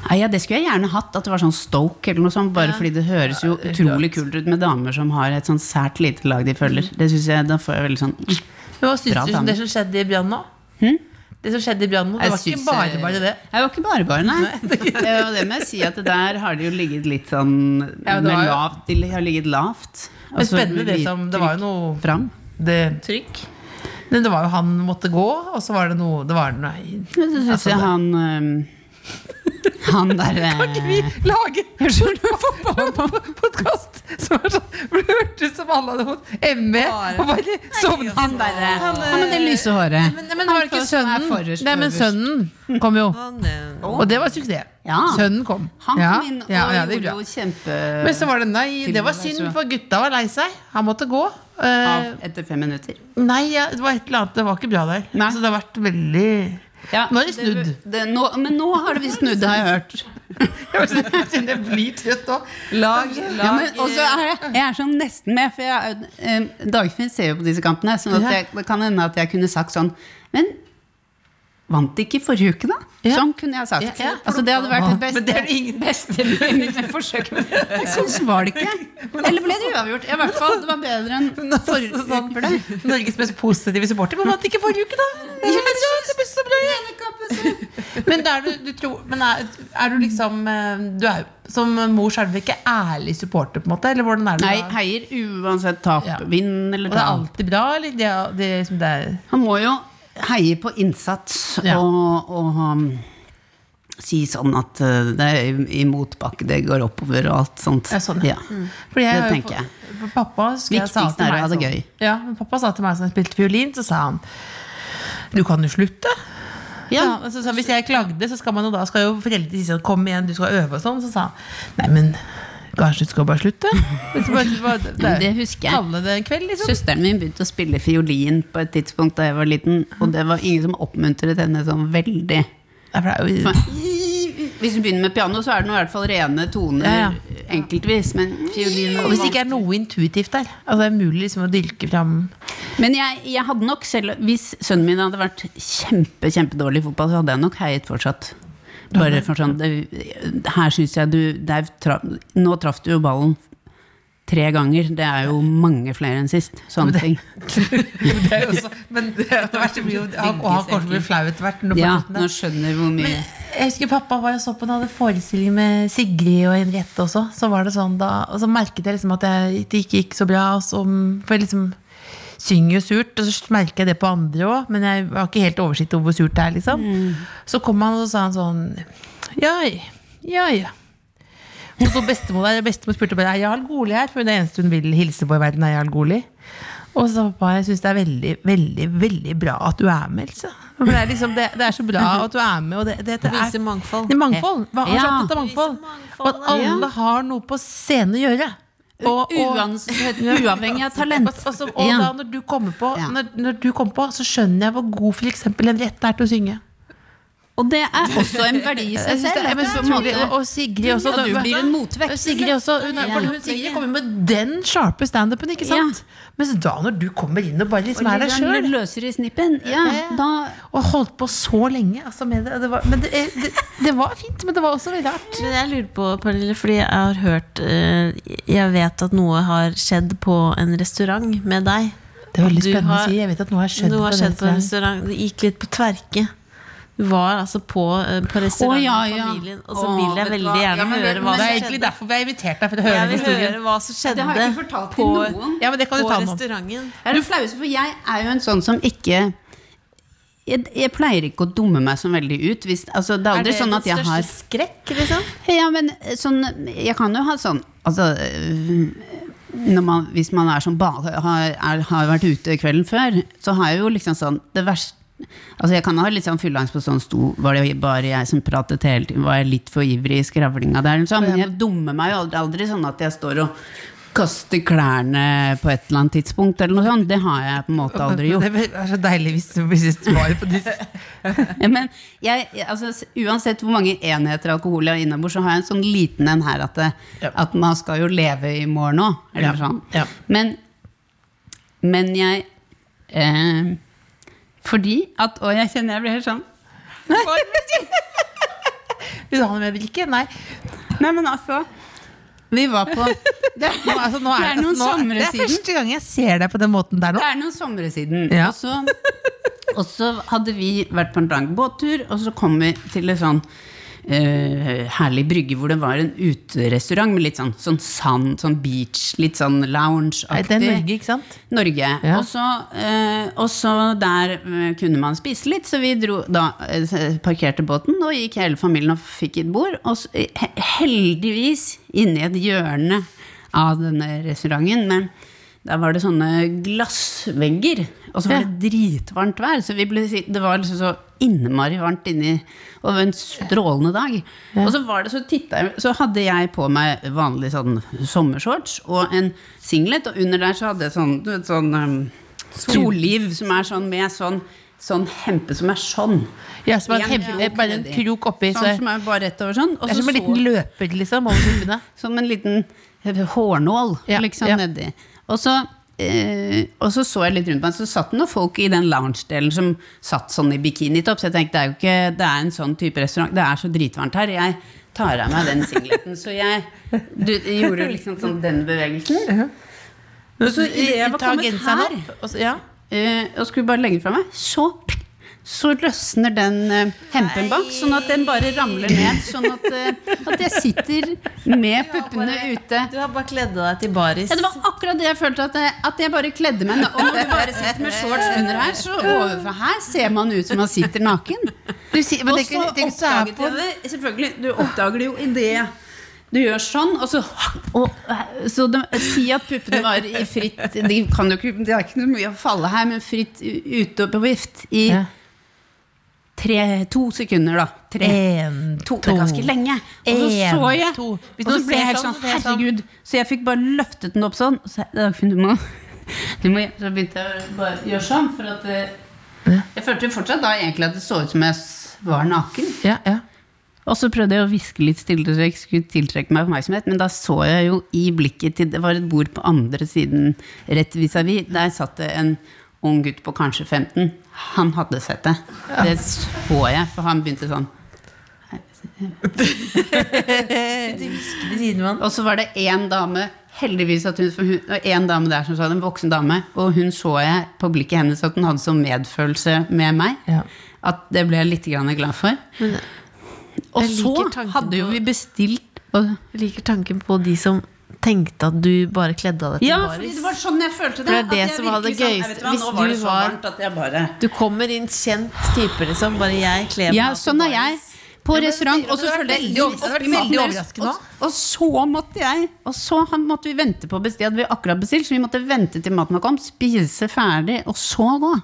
S6: Nei, ja, Det skulle jeg gjerne hatt, at det var sånn Stoke eller noe sånt. Bare fordi det høres jo utrolig kult ut med damer som har et sånn sært lite lag de følger.
S3: Mm.
S6: Det synes jeg, Da får jeg veldig sånn
S3: Men hva syns
S6: Bra
S3: du om
S6: dame.
S3: det som skjedde i Brann nå? Det som skjedde i Brann nå, det
S6: Jeg
S3: var ikke
S6: syns,
S3: bare
S6: eh,
S3: bare det.
S6: Jeg var ikke bare bare, nei. Eh, Og det må jeg si at det der har det jo ligget litt sånn
S3: Ja, det
S6: med
S3: var jo-
S6: lavt, De har ligget lavt. Altså,
S3: Men spennende det som Det var jo noe
S6: Fram.
S3: det,
S5: Trykk?
S3: Men det var jo han måtte gå, og så var det noe Det var noe
S6: Men så syns
S3: Altså,
S6: jeg han øhm, Han
S3: *laughs*
S6: der
S3: Vi
S6: eh,
S3: lager en fotballpodkast som er sånn hvor det hørtes ut som alle hadde fått ME og bare sovnet.
S6: Han der eh, Han med det lyse håret.
S3: øh, Men, men var det ikke
S6: som er
S3: sønnen?
S6: forrest,
S3: Nei, men
S6: øverst.
S3: sønnen kom jo.
S5: Han, eh,
S3: Og det var suksess.
S6: Ja.
S3: Sønnen kom.
S6: Han
S3: ja.
S6: kom inn og
S3: ja, ja, det er bra.
S6: gjorde jo kjempe
S3: Men så var det nei, det var
S6: Filmen
S3: synd,
S6: der, så-
S3: for gutta var lei seg. Han måtte gå. Eh,
S6: av etter fem minutter.
S3: nei, ja, det var et eller annet. Det var ikke bra der.
S6: Nei.
S3: Så det har vært veldig
S6: Ja,
S3: Nå er det snudd.
S6: Det, det, nå, men nå har det visst snudd, har jeg hørt.
S3: Jeg kjenner jeg blir trøtt òg.
S6: Ja, men også er jeg, jeg er sånn nesten med, for jeg, um, Dagfinn ser jo på disse kampene. Sånn at
S3: Ja.
S6: jeg, det kan hende at jeg kunne sagt sånn Men vant de ikke forrige uke, da?
S3: Ja.
S6: Sånn kunne jeg sagt.
S3: Ja, ja.
S6: Altså, det hadde vært det beste.
S3: Men det er det ingen
S6: beste *laughs* forsøk med det. Jeg syns var det ikke. Eller ble det uavgjort? Ja, I hvert fall. Det var bedre enn
S3: *laughs*
S6: forrige uke.
S3: sånn-
S6: for det.
S3: Norges mest positive supporter. Men vant ikke forrige uke, da! Ja, men da, det ble så bra. Men er du, du tror, men er, er du liksom eh, Du er jo som mor selv ikke ærlig supporter, på en måte? Eller hvordan er det?
S6: Nei,
S3: da?
S6: heier uansett tap,
S3: Ja.
S6: vinn eller
S3: Og det er
S6: tap.
S3: alltid bra, eller? Det, er- det, er liksom det er
S6: Han må jo heie på innsats
S3: Ja.
S6: og, og um, si sånn at uh, det er i- i motbakke, det går oppover og alt sånt.
S3: Ja, sånn, ja. Fordi jeg
S6: Det
S3: har jo
S6: tenker
S3: fått-
S6: jeg.
S3: For pappa husker jeg sa
S6: Viktigst
S3: til
S6: er å
S3: meg
S6: ha det
S3: sånn-
S6: gøy.
S3: Ja, men pappa sa til meg som spilte fiolin, så sa han Du kan jo slutte.
S6: Ja.
S3: Ja, og så sa han, Hvis jeg klagde, så skal man jo da skal jo foreldre si sånn Kom igjen, du skal øve og sånn. Så sa han nei, men kanskje du skal bare slutte? Men så bare- bare- det,
S6: *laughs* Men det husker jeg.
S3: Kalle det en kveld, liksom.
S6: Søsteren min begynte å spille fiolin på et
S3: Mm.
S6: tidspunkt da jeg var liten, og det var ingen som oppmuntret henne sånn veldig.
S3: Nei, for det er jo
S6: Sånn, Hvis du begynner med piano, så er det nå i hvert fall rene toner
S3: Ja,
S6: enkeltvis. Men fiolin
S3: Og hvis det ikke er noe intuitivt der, altså det er mulig liksom å dyrke fram
S6: Men jeg, jeg hadde nok selv Hvis sønnen min hadde vært kjempe, kjempedårlig i fotball, så hadde jeg nok heiet fortsatt. Bare for sånn det, Her syns jeg du der, tra, Nå traff du jo ballen tre ganger. Det er jo mange flere enn sist. Sånne ting.
S3: Det er jo også, men det er etter hvert så blir jo Og han kommer til å bli flau etter hvert. når
S6: Ja,
S3: fortsetter det.
S6: nå skjønner du hvor mye
S3: Men jeg husker pappa var og så på han hadde forestilling med Sigrid og Henriette også. Så var det sånn da, og så merket jeg liksom at jeg, det ikke gikk så bra. Og så, for jeg liksom synger jo surt, og så merker jeg det på andre òg. Men jeg har ikke helt oversikt over hvor surt det er. liksom. Så kom han og så sa han sånn Ja, ja, ja. Og så bestemor der, bestemor spurte bare, er Jarl Goli her, for det eneste hun vil hilse på i verden, er Jarl Goli. Og så sa pappa, jeg syns det er veldig, veldig veldig bra at du er med, Else. For det, er liksom, det, det er så bra at du er med. Og det, det, det
S5: Vise
S3: er,
S5: mangfold.
S3: det er mangfold. Hva har
S6: Ja.
S3: sagt dette er mangfold? Og at alle har noe på scenen å gjøre. Og, og,
S6: Uans- Uavhengig av talent.
S3: og, så- og
S6: Ja.
S3: da når du kommer på,
S6: Ja.
S3: når, når du kommer på så skjønner jeg hvor god for eksempel en rett er til å synge.
S6: Og det er også en verdi i
S3: Jeg
S6: seg
S3: synes det
S6: selv.
S3: er,
S6: at
S3: men,
S6: du på en
S3: Sigrid,
S6: måte-
S3: og, og Sigrid også.
S6: Ja, du
S3: da-
S6: blir en motvekt.
S3: Og Sigrid også. Hun, er- for hun Sigrid kommer med den sharpe standupen, ikke sant? Mens da når du kommer inn og bare liksom er deg
S6: Ligger den
S3: sjøl
S6: løsere i snippen? Ja,
S3: Ja.
S6: da
S3: og holdt på så lenge altså, med det, det var, Men det, det, det var fint, men det var også veldig rart.
S5: Men jeg lurer på, Pernille, fordi jeg har hørt eh, Jeg vet at noe har skjedd på en restaurant med deg.
S3: Det er veldig
S5: Du
S3: spennende
S5: har-
S3: å si. Jeg vet at noe har skjedd.
S5: Noe har
S3: på
S5: skjedd
S3: den
S5: på en
S3: siden.
S5: restaurant. Det gikk litt på tverke. Du var altså på, eh, på restaurant
S6: Å, ja,
S5: med
S6: ja.
S5: familien, og så
S6: Å,
S5: vil jeg
S6: vet du
S5: veldig
S6: hva? Ja,
S5: gjerne
S6: men det-
S5: høre hva som
S6: men
S3: Det er egentlig
S5: skjedde.
S3: derfor jeg er invitert deg, for å høre
S5: Jeg
S3: den
S5: vil
S3: historien.
S5: høre hva som
S6: Det har jeg ikke
S5: skjedde
S6: fortalt
S5: på,
S6: til noen.
S3: Ja, men det kan du
S5: på
S3: ta nå.
S5: restauranten.
S6: Det er det flaueste, for jeg er jo en sånn som ikke jeg, jeg pleier ikke å dumme meg så veldig ut. Hvis, altså, det er aldri sånn at jeg har
S5: skrekk, liksom?
S6: Ja, men eh, sånn Jeg kan jo ha sånn Altså øh, når man, Hvis man er sånn ba- har, er, har vært ute kvelden før, så har jeg jo liksom sånn Det verste Altså Jeg kan ha litt sånn fylleangst på sånn sto Var det bare jeg som pratet hele tiden? Var jeg litt for ivrig i skravlinga der? Liksom. Men jeg dummer meg jo aldri, aldri sånn at jeg står og kaster klærne på et eller annet tidspunkt, eller noe sånt. Det har jeg på en måte
S3: *laughs*
S6: aldri gjort.
S3: Det er så deilig hvis du hvis du svarer på det.
S6: Ja, *laughs* Men jeg, jeg- altså, s- uansett hvor mange enheter alkohol jeg har innabords, så har jeg en sånn liten en her at, det,
S3: Ja.
S6: at man skal jo leve i morgen òg.
S3: Ja,
S6: eller Sånn.
S3: ja.
S6: Men, men jeg eh, Fordi at Og jeg kjenner jeg blir helt sånn
S3: Vil du ha noe mer drikke? Nei.
S6: Nei, men altså. Vi var på
S3: *laughs*
S6: Det,
S3: Nå, altså, nå er,
S6: det er noen
S3: altså, nå,
S6: somre
S3: det er
S6: siden.
S3: første gang jeg ser deg på den måten der nå.
S6: Det er noen somre siden.
S3: Ja.
S6: Og, så, og så hadde vi vært på en lang båttur, og så kom vi til en sånn eh, herlig brygge hvor det var en uterestaurant med litt sånn, sånn sand, sånn beach, litt sånn
S3: Nei,
S6: lounge-aktig.
S3: Det er Norge, ikke sant?
S6: Norge.
S3: Ja.
S6: Og, så, eh, og så der eh, kunne man spise litt, så vi dro, da eh, parkerte båten og gikk hele familien og fikk et bord. Og så, eh, he- heldigvis inni et hjørne av denne restauranten, men der var det sånne glassvegger, og så var det dritvarmt vær, så vi ble, sitt- det var liksom så innmari varmt inni, og det var en strålende dag. Og så var det så tittet jeg, så hadde jeg på meg vanlig sånn sommershorts og en singlet, og under der så hadde jeg sånn, du vet, sånn um, solliv som er sånn med sånn, sånn hempe som er sånn.
S3: Ja, som er en
S6: En
S3: hempe-
S6: krok
S3: bare en
S6: nedi.
S3: krok oppi. Så
S6: Sånn som er bare rett over sånn. og
S3: det er
S6: så
S3: som en
S6: så-
S3: liten løper, liksom. Over puppene.
S6: som en liten hårnål
S3: Ja,
S6: liksom
S3: ja.
S6: nedi. Og så, eh, og så så jeg litt rundt meg, så satt det noen folk i den lounge-delen som satt sånn i bikinitopp. Så jeg tenkte det er jo ikke det er en sånn type restaurant. Det er så dritvarmt her. Jeg tar av meg den singleten. Så jeg du, gjorde liksom sånn den bevegelsen. Og så idet jeg var
S3: Ta
S6: kommet
S3: genseren
S6: her,
S3: opp, og så- ja.
S6: eh, og skulle bare legge den fra meg, så så løsner den eh, hempen bak, sånn at den bare ramler ned. Sånn at, eh, at jeg sitter med puppene ute.
S5: Du har bare kledd av deg til baris.
S6: Ja, det var akkurat det jeg følte, at jeg, at jeg bare kledde meg na- Og når du bare sitter med shorts under her, så overfor her ser man ut som man sitter naken.
S3: Du sier- men
S6: Og
S3: tenk-
S6: så
S3: tenk at du er
S6: oppdaget
S3: på-
S6: jeg det. Selvfølgelig, du oppdager det jo i det du gjør sånn, og så og, eh, Så de, si at puppene var i fritt de kan jo ikke, Det er ikke noe mye å falle her, men fritt ute og på vift i
S3: Ja.
S6: tre, to sekunder, da. Tre,
S3: En,
S6: to, det er ganske lenge. Og så
S3: En,
S6: så jeg,
S3: to. Hvis
S6: og så
S3: noen
S6: ble jeg
S3: ser
S6: helt
S3: sånn,
S6: sånn,
S3: så ser jeg sånn.
S6: herregud. Så jeg fikk bare løftet den opp sånn. og Så, jeg, *laughs* Dagfinn, du må, du må, så begynte jeg å bare gjøre sånn, for at eh, Jeg følte jo fortsatt da egentlig at det så ut som jeg s- var naken.
S3: Ja, ja.
S6: Og så prøvde jeg å hviske litt stille så jeg ikke skulle tiltrekke meg oppmerksomhet, men da så jeg jo i blikket til Det var et bord på andre siden, rett vis-à-vis. Der satt det en ung gutt på kanskje 15. Han hadde sett det. Det så jeg, for han begynte sånn. Og så var det én dame Heldigvis at hun, for hun og en dame der som sa det, en voksen dame, og hun så jeg på blikket hennes at hun hadde sånn medfølelse med meg.
S3: Ja.
S6: At det ble jeg litt grann glad for. Og
S4: Jeg liker
S6: så
S4: tanken
S6: hadde jo
S4: på-
S6: vi bestilt og,
S4: Jeg liker tanken på de som tenkte at du bare kledde av deg til
S6: Ja, fordi
S4: baris.
S6: det var sånn jeg følte det.
S4: For det er
S6: at
S4: det
S6: jeg
S4: som var det
S6: virkelig sånn,
S4: gøyeste.
S6: jeg vet hva,
S4: Hvis
S6: nå var det
S4: du
S6: så
S4: var-
S6: varmt at jeg bare
S4: Du kommer inn kjent type, liksom. Bare jeg kler meg
S6: Ja,
S4: av til
S6: sånn er jeg.
S4: baris.
S6: På restaurant. Og så følte jeg
S10: veldig over- det hadde vært veldig overraskende
S6: og, og så måtte jeg Og så han- måtte vi vente på bestilt. Hadde vi akkurat bestilt, så vi måtte vente til maten var kommet, spise ferdig, og så gå.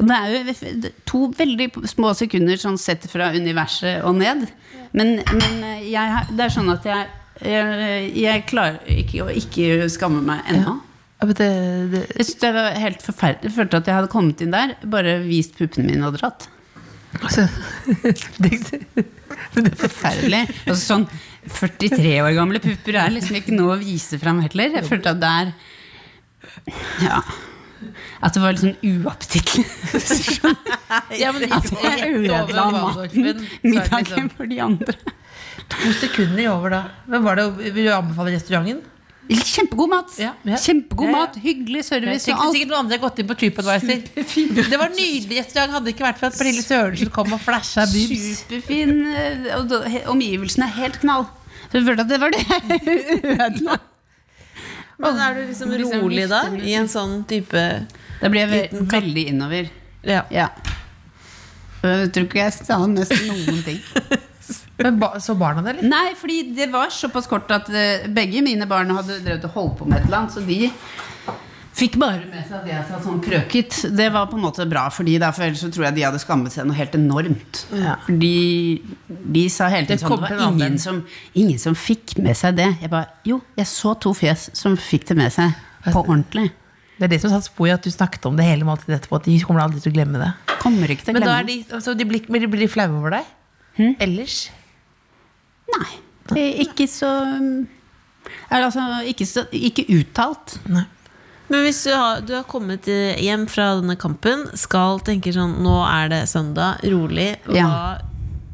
S6: Og Det er jo to veldig små sekunder sånn sett fra universet og ned. Men, men jeg, har- det er sånn at jeg, jeg, jeg klarer ikke å ikke skamme meg ennå.
S3: Ja, men det, det,
S6: Jeg synes det var helt forferdelig. Jeg følte at jeg hadde kommet inn der, bare vist puppene mine og dratt.
S3: altså, *laughs* det,
S6: Det er Forferdelig. Og sånn 43 år gamle pupper er liksom ikke noe å vise fram heller. Jeg følte at der Ja. At det var litt sånn uappetittlig.
S10: Ja, men
S6: At jeg ødela maten, middagen for
S3: liksom-
S6: de andre.
S3: To sekunder over da. Men var det, vil du anbefale restauranten?
S6: Kjempegod mat.
S3: Ja, ja.
S6: Kjempegod
S3: Ja, ja.
S6: mat, hyggelig
S3: Jeg
S6: service og
S3: tenkte
S6: alt.
S3: sikkert noen andre har gått inn på TripAdvisor. Det var nydelig restaurant. Hadde det ikke vært for at Pernille Sørensen kom og flasha boobs.
S6: Superfin. eh, Og da- he- omgivelsene er helt knall. Så jeg følte at det var det jeg *laughs* ødela.
S4: Men er du liksom rolig da? I en sånn type
S6: Da blir jeg ve veldig innover.
S4: Ja.
S6: Ja. Jeg tror ikke jeg sa nesten noen
S3: *laughs*
S6: ting.
S3: Men ba, så barna det, eller?
S6: Nei, fordi det var såpass kort at eh, begge mine barn hadde drevet og holdt på med et eller annet, så de fikk bare med seg det jeg sa sånn krøket. Det var på en måte bra for de, da, for ellers så tror jeg de hadde skammet seg noe helt enormt. Fordi de sa hele
S3: Det
S6: tiden sånn,
S3: kom
S6: det
S3: til en
S6: var ingen
S3: annen.
S6: som, ingen som fikk med seg det. Jeg bare, jo, jeg så to fjes som fikk det med seg på ordentlig.
S3: Det er det som satt spor i at du snakket om det hele måltidet etterpå. At de kommer aldri til å glemme det.
S6: Kommer ikke til å
S3: Men da
S6: glemme
S3: er de, altså, de blir, blir de flaue over deg? Hm? Ellers?
S6: Nei. Det er ikke så er det altså ikke, så, ikke uttalt.
S3: Nei.
S4: Men hvis du har, du har kommet eh, hjem fra denne kampen, skal tenke sånn Nå er det søndag, rolig. Hva
S6: Ja.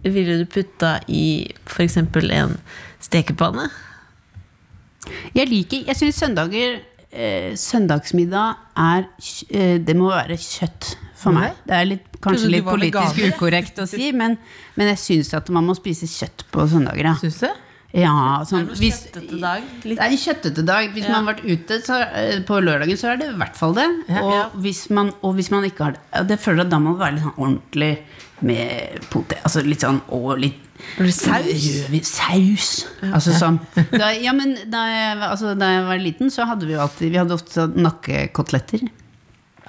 S4: ville du putta i f.eks. en stekepanne?
S6: Jeg liker Jeg syns søndager eh, Søndagsmiddag er kj- eh, Det må være kjøtt for meg. Det er litt,
S3: Trodde du
S6: kanskje litt
S3: var
S6: politisk
S3: veganer,
S6: ukorrekt å si, men, men jeg syns at man må spise kjøtt på søndager. Ja.
S3: Syns du?
S6: Ja, sånn, hvis,
S4: kjøttete dag?
S6: Det er en kjøttete dag. Hvis man har vært ute så, eh, på lørdagen, så er det i hvert fall det. Og hvis man, og hvis man ikke har det, ja, det føler jeg at da må man være litt sånn ordentlig med potet. Altså litt sånn og litt Saus. Saus. Altså sånn. Da, ja, men da jeg, altså, da jeg var liten, så hadde vi jo alltid Vi hadde ofte sånn nakkekoteletter.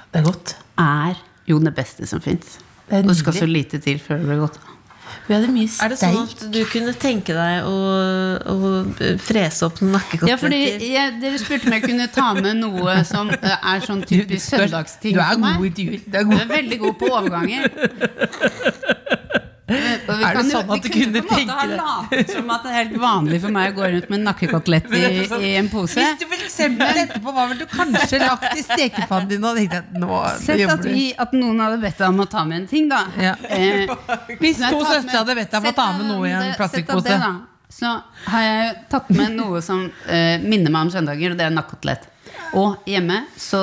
S3: Det er godt.
S6: Er jo det beste som fins.
S3: Det er
S6: Det skal
S3: nydelig.
S6: så lite til før det blir godt.
S3: Vi hadde mye
S4: Er det sånn
S3: steik.
S4: at du kunne tenke deg å, å eh, frese opp noen nakkekoteletter?
S6: Ja, fordi jeg, Dere spurte om jeg kunne ta med noe som eh, er sånn typisk søndagsting
S3: Du er
S6: for meg.
S3: god i dyr. Du er
S6: Du
S3: god.
S6: er veldig god på
S3: *laughs*
S6: overganger. Eh,
S3: Er det sånn at du kunne tenke
S6: det? latt som at det er helt vanlig for meg å gå rundt med en
S3: *laughs*
S6: nakkekotelett i, i en pose.
S3: sånn- Hvis du for eksempel etterpå var vel du kanskje lagt i stekepannen din og tenkte at nå
S6: Sett at,
S3: jobber du.
S6: vi, at noen hadde bedt deg om å ta med en ting, da.
S3: Ja.
S6: Eh,
S3: Hvis
S6: Nei,
S3: to
S6: ta med-
S3: søstre hadde bedt deg om å
S6: Sett
S3: ta
S6: av
S3: med noe i en
S6: det- sett
S3: plastikkpose.
S6: av det, da. Så har jeg tatt med noe som eh, minner meg om søndager, og det er nakkekotelett. Og hjemme, så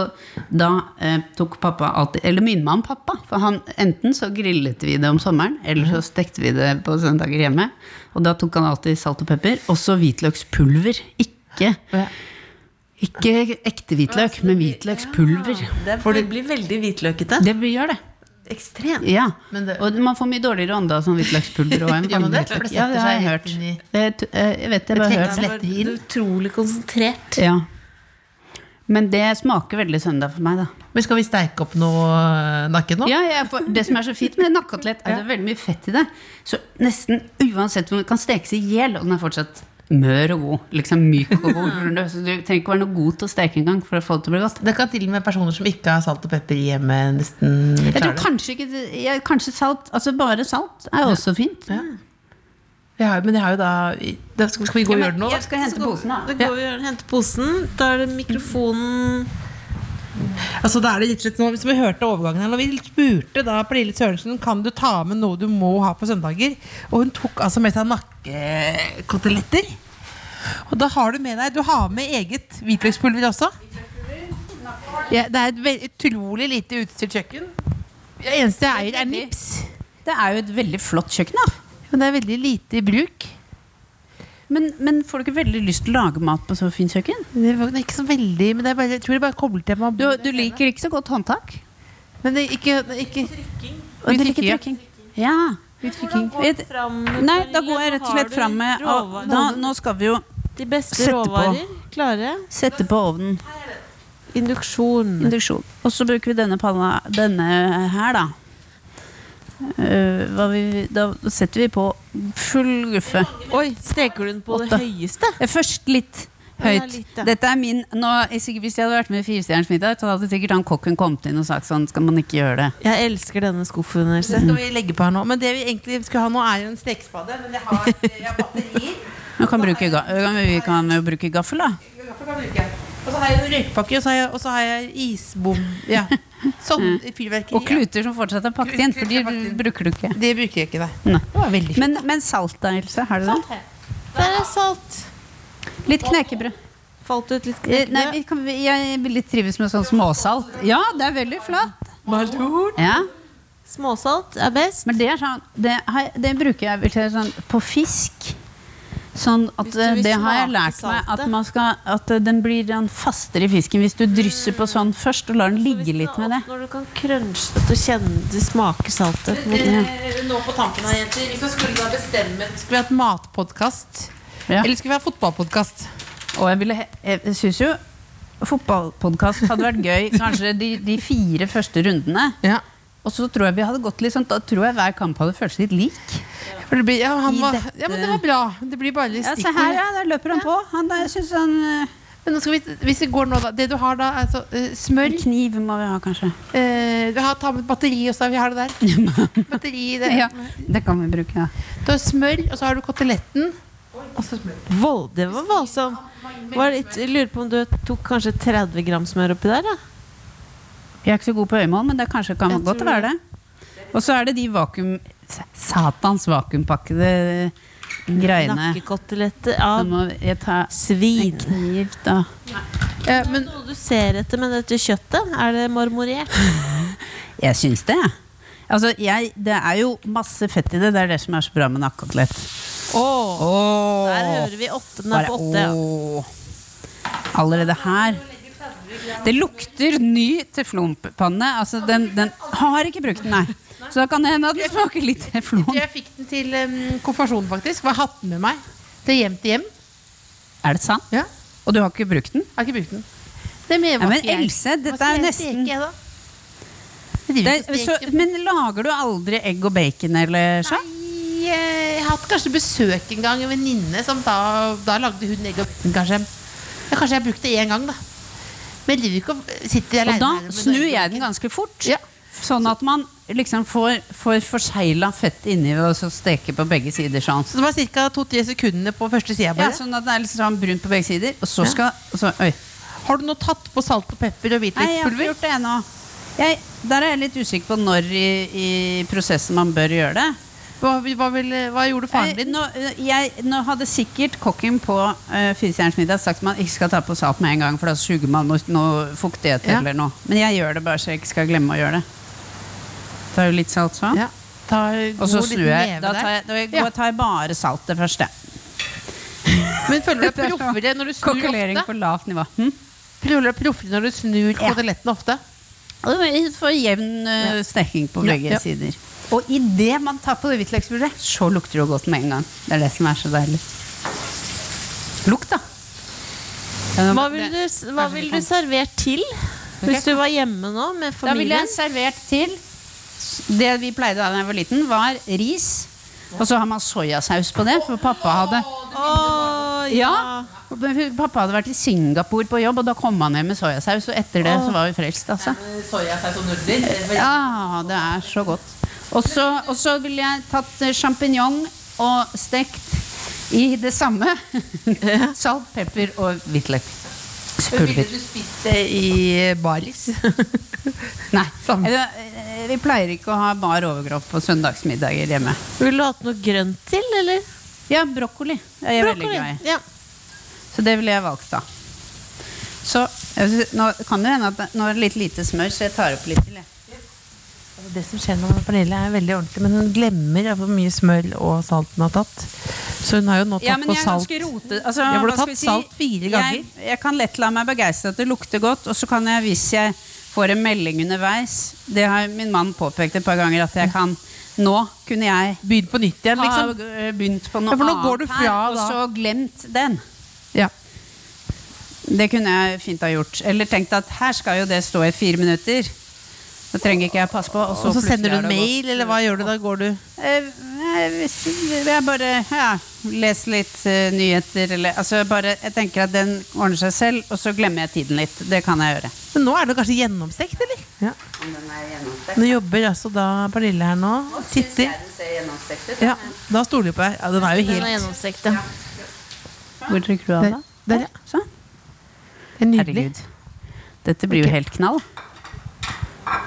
S6: da eh, tok pappa alltid Eller minner meg om pappa. For han, enten så grillet vi det om sommeren, eller så stekte vi det på søndager hjemme. Og da tok han alltid salt og pepper. Også hvitløkspulver. Ikke,
S3: Ja.
S6: ikke ekte hvitløk, men hvitløkspulver.
S4: det, for det blir veldig hvitløkete.
S6: Det gjør det.
S4: Ekstremt.
S6: Ja,
S3: Men det-
S6: og man får mye dårligere ånde av sånn
S3: *laughs*
S6: hvitløkspulver. Og en
S3: Gjør man det?
S6: vanlig
S3: For det
S6: hvitløk. ja, det har jeg
S3: setter
S6: hørt.
S3: seg helt
S6: Jeg, t- eh, jeg vet det, jeg bare har hørt
S4: Det er utrolig konsentrert.
S6: det. Ja. Men det smaker veldig søndag for meg, da.
S3: Men skal vi steike opp noe eh, nakke nå?
S6: Ja, jeg får, det som er så fint med nakkekotelett, er det er veldig mye fett i det. Så nesten uansett hvor den kan stekes i hjel, og den er fortsatt mør og god. Liksom myk og god. Skjønner du? Så du trenger ikke være noe god til å steke engang for å få det til å bli godt.
S3: Det kan til og med personer som ikke har salt og pepper i hjemmet, nesten
S6: Jeg
S3: klare
S6: tror
S3: det.
S6: kanskje ikke ja, Kanskje salt. Altså bare salt er også fint.
S3: Vi har, jo- men jeg har jo da, da Skal skal vi gå og gjøre det nå? da?
S6: Jeg skal hente posen, da.
S5: Da går vi og henter posen. Da er det
S6: Mm.
S5: mikrofonen
S10: Altså, da er det litt, litt sånn, som vi hørte overgangen her, når vi spurte da Pernille Sørensen kan du ta med noe du må ha på søndager, og hun tok altså med seg nakkekoteletter. Og da har du med deg Du har med eget hvitløkspulver også. Ja, det er et ve- utrolig lite utstyrt kjøkken. Det eneste jeg eier, er nips.
S6: Det er jo et veldig flott kjøkken, da.
S10: Men det er veldig lite i bruk.
S6: Men, men får du ikke veldig lyst til å lage mat på så fint kjøkken?
S10: Det er ikke så veldig, men det er bare, jeg tror det bare kobler til at man
S6: Du,
S10: bor
S6: du liker ikke så godt håndtak?
S10: Men det, er ikke, det er ikke
S6: Og du
S10: Litt
S6: liker
S10: drikke, ja.
S6: drikking? Ja. Et- Nei, da går jeg rett og slett fram med av- da, Nå skal vi jo
S5: de beste
S6: Sette på.
S5: råvarer klare.
S6: sette på ovnen.
S5: Induksjon.
S6: Induksjon. Og så bruker vi denne panna denne her, da. Eh, hva vi, da setter vi på full guffe.
S5: Oi, steker du den på det
S6: Åtte.
S5: høyeste?
S6: Eh, Først litt
S5: Ja,
S6: høyt.
S5: litt, ja.
S6: Dette er min, nå, jeg, sikkert- Hvis jeg hadde vært med i Firestjerners middag, så hadde sikkert han kokken kommet inn og sagt sånn Skal man ikke gjøre det?
S5: Jeg elsker denne skuffen. Else.
S10: Det skal vi legge på her nå. Men det vi egentlig skulle ha nå, er jo en stekespade. Men jeg har, jeg har batterier.
S6: Man kan bruke, ga- ja, men vi kan jo bruke gaffel, da.
S10: Derfor kan jeg bruke. Og så har jeg jo røykpakke, og så har jeg, og så har jeg isbom. *laughs* Ja. Sånn fyrverkeri.
S6: Og kluter som fortsatt er pakket inn, for de bruker du ikke.
S10: Ja. Det bruker jeg ikke, nei.
S6: Nei.
S10: Det var veldig fint.
S6: Men, men salt, da, Else? Har du det?
S5: Der er salt.
S6: Litt knekebrød.
S5: Falt ut litt
S6: Eh, Nei,
S5: knekkebrød.
S6: vi kan, jeg vil litt trives med sånn småsalt. Ja, det er veldig flatt. Ja,
S5: Småsalt er best.
S6: Men det er sånn Det, har jeg- det bruker jeg vel til sånn på fisk. Sånn at
S5: Hvis du vil
S6: eh, Det har jeg
S5: smake
S6: lært meg. At,
S5: saltet.
S6: man skal, at eh, den blir sånn fastere i fisken hvis du drysser på sånn først og lar den ligge litt med det.
S5: Når du kan crunche at du kjenner du smaker saltet. på en måte.
S10: Nå på tampen her, jenter. Vi skulle da bestemme Skulle vi hatt matpodkast?
S6: Ja.
S10: Eller skulle vi ha fotballpodkast?
S6: Og jeg, ville he- jeg syns jo fotballpodkast hadde vært
S10: *laughs*
S6: gøy kanskje de, de fire første rundene.
S10: Ja.
S6: Og så tror jeg vi hadde gått litt sånn Da tror jeg hver kamp hadde føltes litt lik.
S10: For det blir, ja, han
S6: I
S10: var,
S6: dette-
S10: ja, men det var bra. Det blir bare litt
S6: Ja, se
S10: stikkord.
S6: her, ja. Der løper han på. Han, der, jeg synes han eh,
S10: Men nå skal vi, hvis vi går nå, da. Det du har da, er så, eh, smør.
S6: En kniv må vi ha, kanskje.
S10: Eh, du har, ta med batteri også. Vi har det der. Batteri, det.
S6: Ja, det kan vi bruke, ja.
S10: Du har smør, og så har du koteletten.
S5: Vold, det var voldsom. Var litt, jeg lurer på om du tok kanskje 30 gram smør oppi der? Ja?
S6: Jeg er ikke så god på øyemål, men det kanskje kan
S5: Jeg
S6: godt
S5: tror
S6: være det. Og så er det de vakuum... Satans vakuumpakkede greiene.
S5: Nakkekoteletter av
S6: Nå må jeg ta
S5: svin.
S6: kniv, da.
S10: Ja, men
S5: Noe du ser etter med dette kjøttet? Er det marmorert?
S6: Jeg syns det, jeg. Altså, jeg, det er jo masse fett i det. Det er det som er så bra med nakkekotelett.
S5: Åh,
S6: Oh,
S5: der hører vi åtte. Den er på åtte. Ja.
S6: Allerede her. Det lukter ny teflonpanne. Altså, den, den har ikke brukt den, nei. Så da kan det hende at den smaker litt teflon.
S10: jeg fikk den til um, konfirmasjonen, faktisk. Jeg har hatt den med meg til hjem til hjem.
S6: Er det sant?
S10: Ja.
S6: Og du har ikke brukt den?
S10: Jeg har ikke brukt den. Det med
S6: Ja,
S10: var
S6: men
S10: ikke jeg.
S6: Else, dette
S10: Hva skal
S6: er
S10: jeg
S6: nesten-
S10: steke, jeg, da? Jeg
S6: Det,
S10: driver ikke
S6: er-
S10: og
S6: så,
S10: steker.
S6: men lager du aldri egg og bacon eller sånn?
S10: Nei, eh, Jeg har hatt kanskje besøk en gang, en venninne som da, da lagde hun egg og bacon, kanskje. Ja, kanskje jeg brukte det én gang, da. Men jeg driver ikke og sitter
S6: Og
S10: aleine
S6: da snur jeg den ganske fort.
S10: Ja.
S6: Sånn at man liksom får, får forsegla fett inni ved å så steke på begge sider. sånn.
S10: Så det var ca. to-tre sekundene på første
S6: Ja,
S10: sida. bare.
S6: sånn at det er litt sånn brunt på begge sider. Og så skal og så, Oi.
S10: Har du nå tatt på salt og pepper og
S6: Nei, jeg har ikke
S10: hvitløkspulver?
S6: gjort det ennå. Jeg, der er jeg litt usikker på når i, i prosessen man bør gjøre det.
S10: Hva, hva, vil- hva gjorde
S6: Jeg,
S10: faren din?
S6: Eh, nå, jeg, nå hadde sikkert kokken på uh, Firestjerners middag sagt at man ikke skal ta på salt med en gang, for da suger man noe, noe fuktighet
S10: Ja.
S6: eller noe. Men jeg gjør det bare så jeg ikke skal glemme å gjøre det. Tar jo litt salt sånn.
S10: Ja, ta en
S6: Og så
S10: god
S6: snur
S10: liten
S6: jeg.
S10: neve
S6: Da
S10: der.
S6: tar jeg, da jeg,
S10: Ja.
S6: tar jeg bare salt det første.
S10: Men
S6: *laughs*
S10: føler du
S6: Dette er
S10: deg
S6: så-
S10: proffere når du snur
S6: Kokkelering
S10: ofte?
S6: på lavt nivå. Hm?
S10: Føler du deg proffere når du snur koteletten ofte?
S6: Og det får jevn eh, steking på begge
S10: ja.
S6: sider. Og idet man tar på det hvitløksbrødet, så lukter det jo godt med en gang. Det er det som er så deilig. Lukt, da. Ja, nå-
S5: Hva ville du, hva vil du servert til? Hvis du var hjemme nå med
S6: Da ville
S5: familien?
S6: jeg servert til Det vi pleide da jeg var liten, var ris. Og så har man soyasaus på det, for pappa hadde.
S5: Åh,
S6: Ja. Pappa hadde vært i Singapore på jobb, og da kom han hjem med soyasaus. Og etter det så var vi frelst, altså.
S3: Soyasaus og nudler.
S6: Ja, det er så godt. Og så- og så ville jeg tatt eh, champignon og stekt i det samme. *laughs* Salt, pepper og hvitløk.
S3: Ville du spist det i baris?
S6: *laughs* Nei.
S3: Samme.
S6: Eller, eh, Vi pleier ikke å ha bar overkropp på søndagsmiddager hjemme.
S4: Vil du ha noe grønt til, eller?
S6: Ja, brokkoli er jeg veldig glad i.
S4: Ja.
S6: Så det ville jeg valgt, da. Så jeg vil si- nå kan det hende at det- nå er det litt lite smør, så jeg tar opp litt til. jeg.
S3: Det som skjer nå med Pernille er veldig ordentlig, men hun glemmer hvor mye smør og salt hun har tatt. Så hun har jo nå tatt
S6: Ja, men
S3: på
S6: jeg er
S3: salt.
S6: ganske rote. Altså,
S3: Jeg burde
S6: hva skal
S3: tatt
S6: vi si?
S3: salt fire ganger.
S6: Jeg, jeg kan lett la meg begeistre at det lukter godt, og så kan jeg, hvis jeg får en melding underveis Det har min mann påpekt et par ganger, at jeg kan Nå kunne jeg
S3: Begynn på nytt igjen,
S6: ha
S3: liksom.
S6: eh, begynt på noe
S3: Ja, for nå går du
S6: annet
S3: fra,
S6: her, og
S3: da.
S6: så glemt den.
S3: Ja.
S6: Det kunne jeg fint ha gjort. Eller tenkt at her skal jo det stå i fire minutter. Da trenger ikke jeg passe på. Og så,
S3: Og så
S6: plutselig
S3: sender du
S6: er
S3: en
S6: det gått.
S3: mail, eller hva gjør du da? Går du
S6: Eh, nei, hvis, jeg bare ja, leser litt eh, nyheter eller altså bare, Jeg tenker at den ordner seg selv, og så glemmer jeg tiden litt. Det kan jeg gjøre.
S3: Men nå er det kanskje gjennomstekt, eller? Ja. Nå jobber altså da Pernille her nå. Titter. Ja, da stoler vi på deg. Ja, den er jo
S4: Den er
S3: helt
S4: gjennomstekt, ja.
S6: Hvor trykker du av,
S3: Der,
S6: da?
S3: der, ja.
S6: Sånn.
S3: Det er nydelig.
S6: Herregud. Dette blir jo helt knall.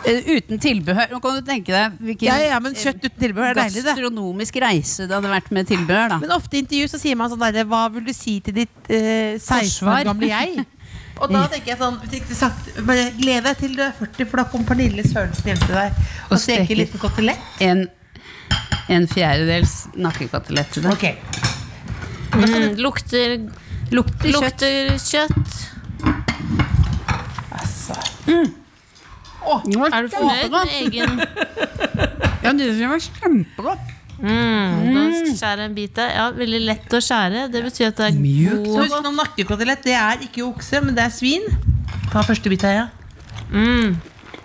S6: Eh, uten tilbehør. Nå kan du tenke deg hvilken
S3: Ja, ja, men kjøtt uten tilbehør er deilig, det.
S6: gastronomisk reise det hadde vært med tilbehør. da
S3: Men ofte i intervju så sier man sånn derre Hva vil du si til ditt eh, 16
S6: Forsvar.
S3: år gamle jeg? *laughs* Og da tenker jeg sånn hvis ikke sagt, bare Gled deg til du er 40, for da kommer Pernille Sørensen hjem til deg og
S6: Og
S3: steker en
S6: steker.
S3: liten kotelett.
S6: En, en fjerdedels nakkekotelett til deg.
S3: Ok.
S4: Mm, lukter, lukter, kjøtt. Er du fornøyd med egen
S6: Ja, det var kjempegodt.
S4: mm, Da skjærer jeg en bit av. Ja, veldig lett å skjære. Det betyr at det er
S3: Så
S4: god
S3: husk nå nakkekotelett. Det er ikke okse, men det er svin. Ta første bit her, ja.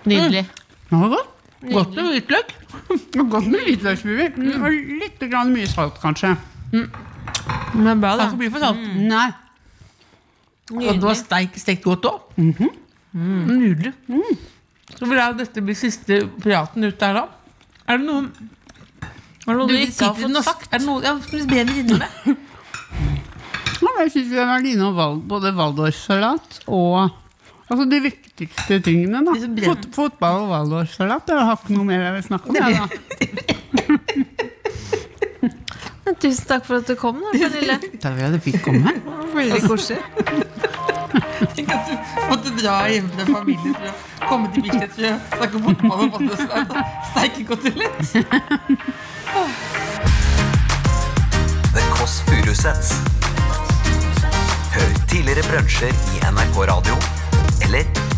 S4: Nydelig.
S6: Det var godt.
S3: Godt med
S6: *laughs*
S3: hvitløk.
S6: Det var Godt med hvitløksmurvin. Mm. Og litt grann mye salt, kanskje.
S3: Takk for mye for salt.
S6: Nei.
S3: Og det var steik, stekt godt òg.
S6: Mhm.
S3: Nydelig.
S6: Mm.
S3: Så vil jeg dette bli siste praten ut der, da. Er det noen
S4: Har du
S3: du
S4: noe du
S3: vil si
S4: ikke har
S3: til
S4: fått
S3: norsk-
S4: sagt?
S3: Er det noe, ja, skal du be en venninne med?
S6: Ja, men jeg syns vi har vært innom val, både Waldorfsalat og Altså de viktigste tingene, da.
S3: som brenner.
S6: Fot, fotball og Waldorfsalat. Jeg har ikke noe mer jeg vil snakke om. Jeg, da.
S4: Tusen takk for at du kom, da, Pernille.
S6: Takk for at du fikk komme.
S3: *laughs* Veldig koselig. *laughs* Tenk at du måtte dra hjem fra familien for å komme til Bislett for å snakke fotball og fotballslag og steikekotelett.
S2: The Kåss Furuseths. Hør tidligere brunsjer i NRK Radio eller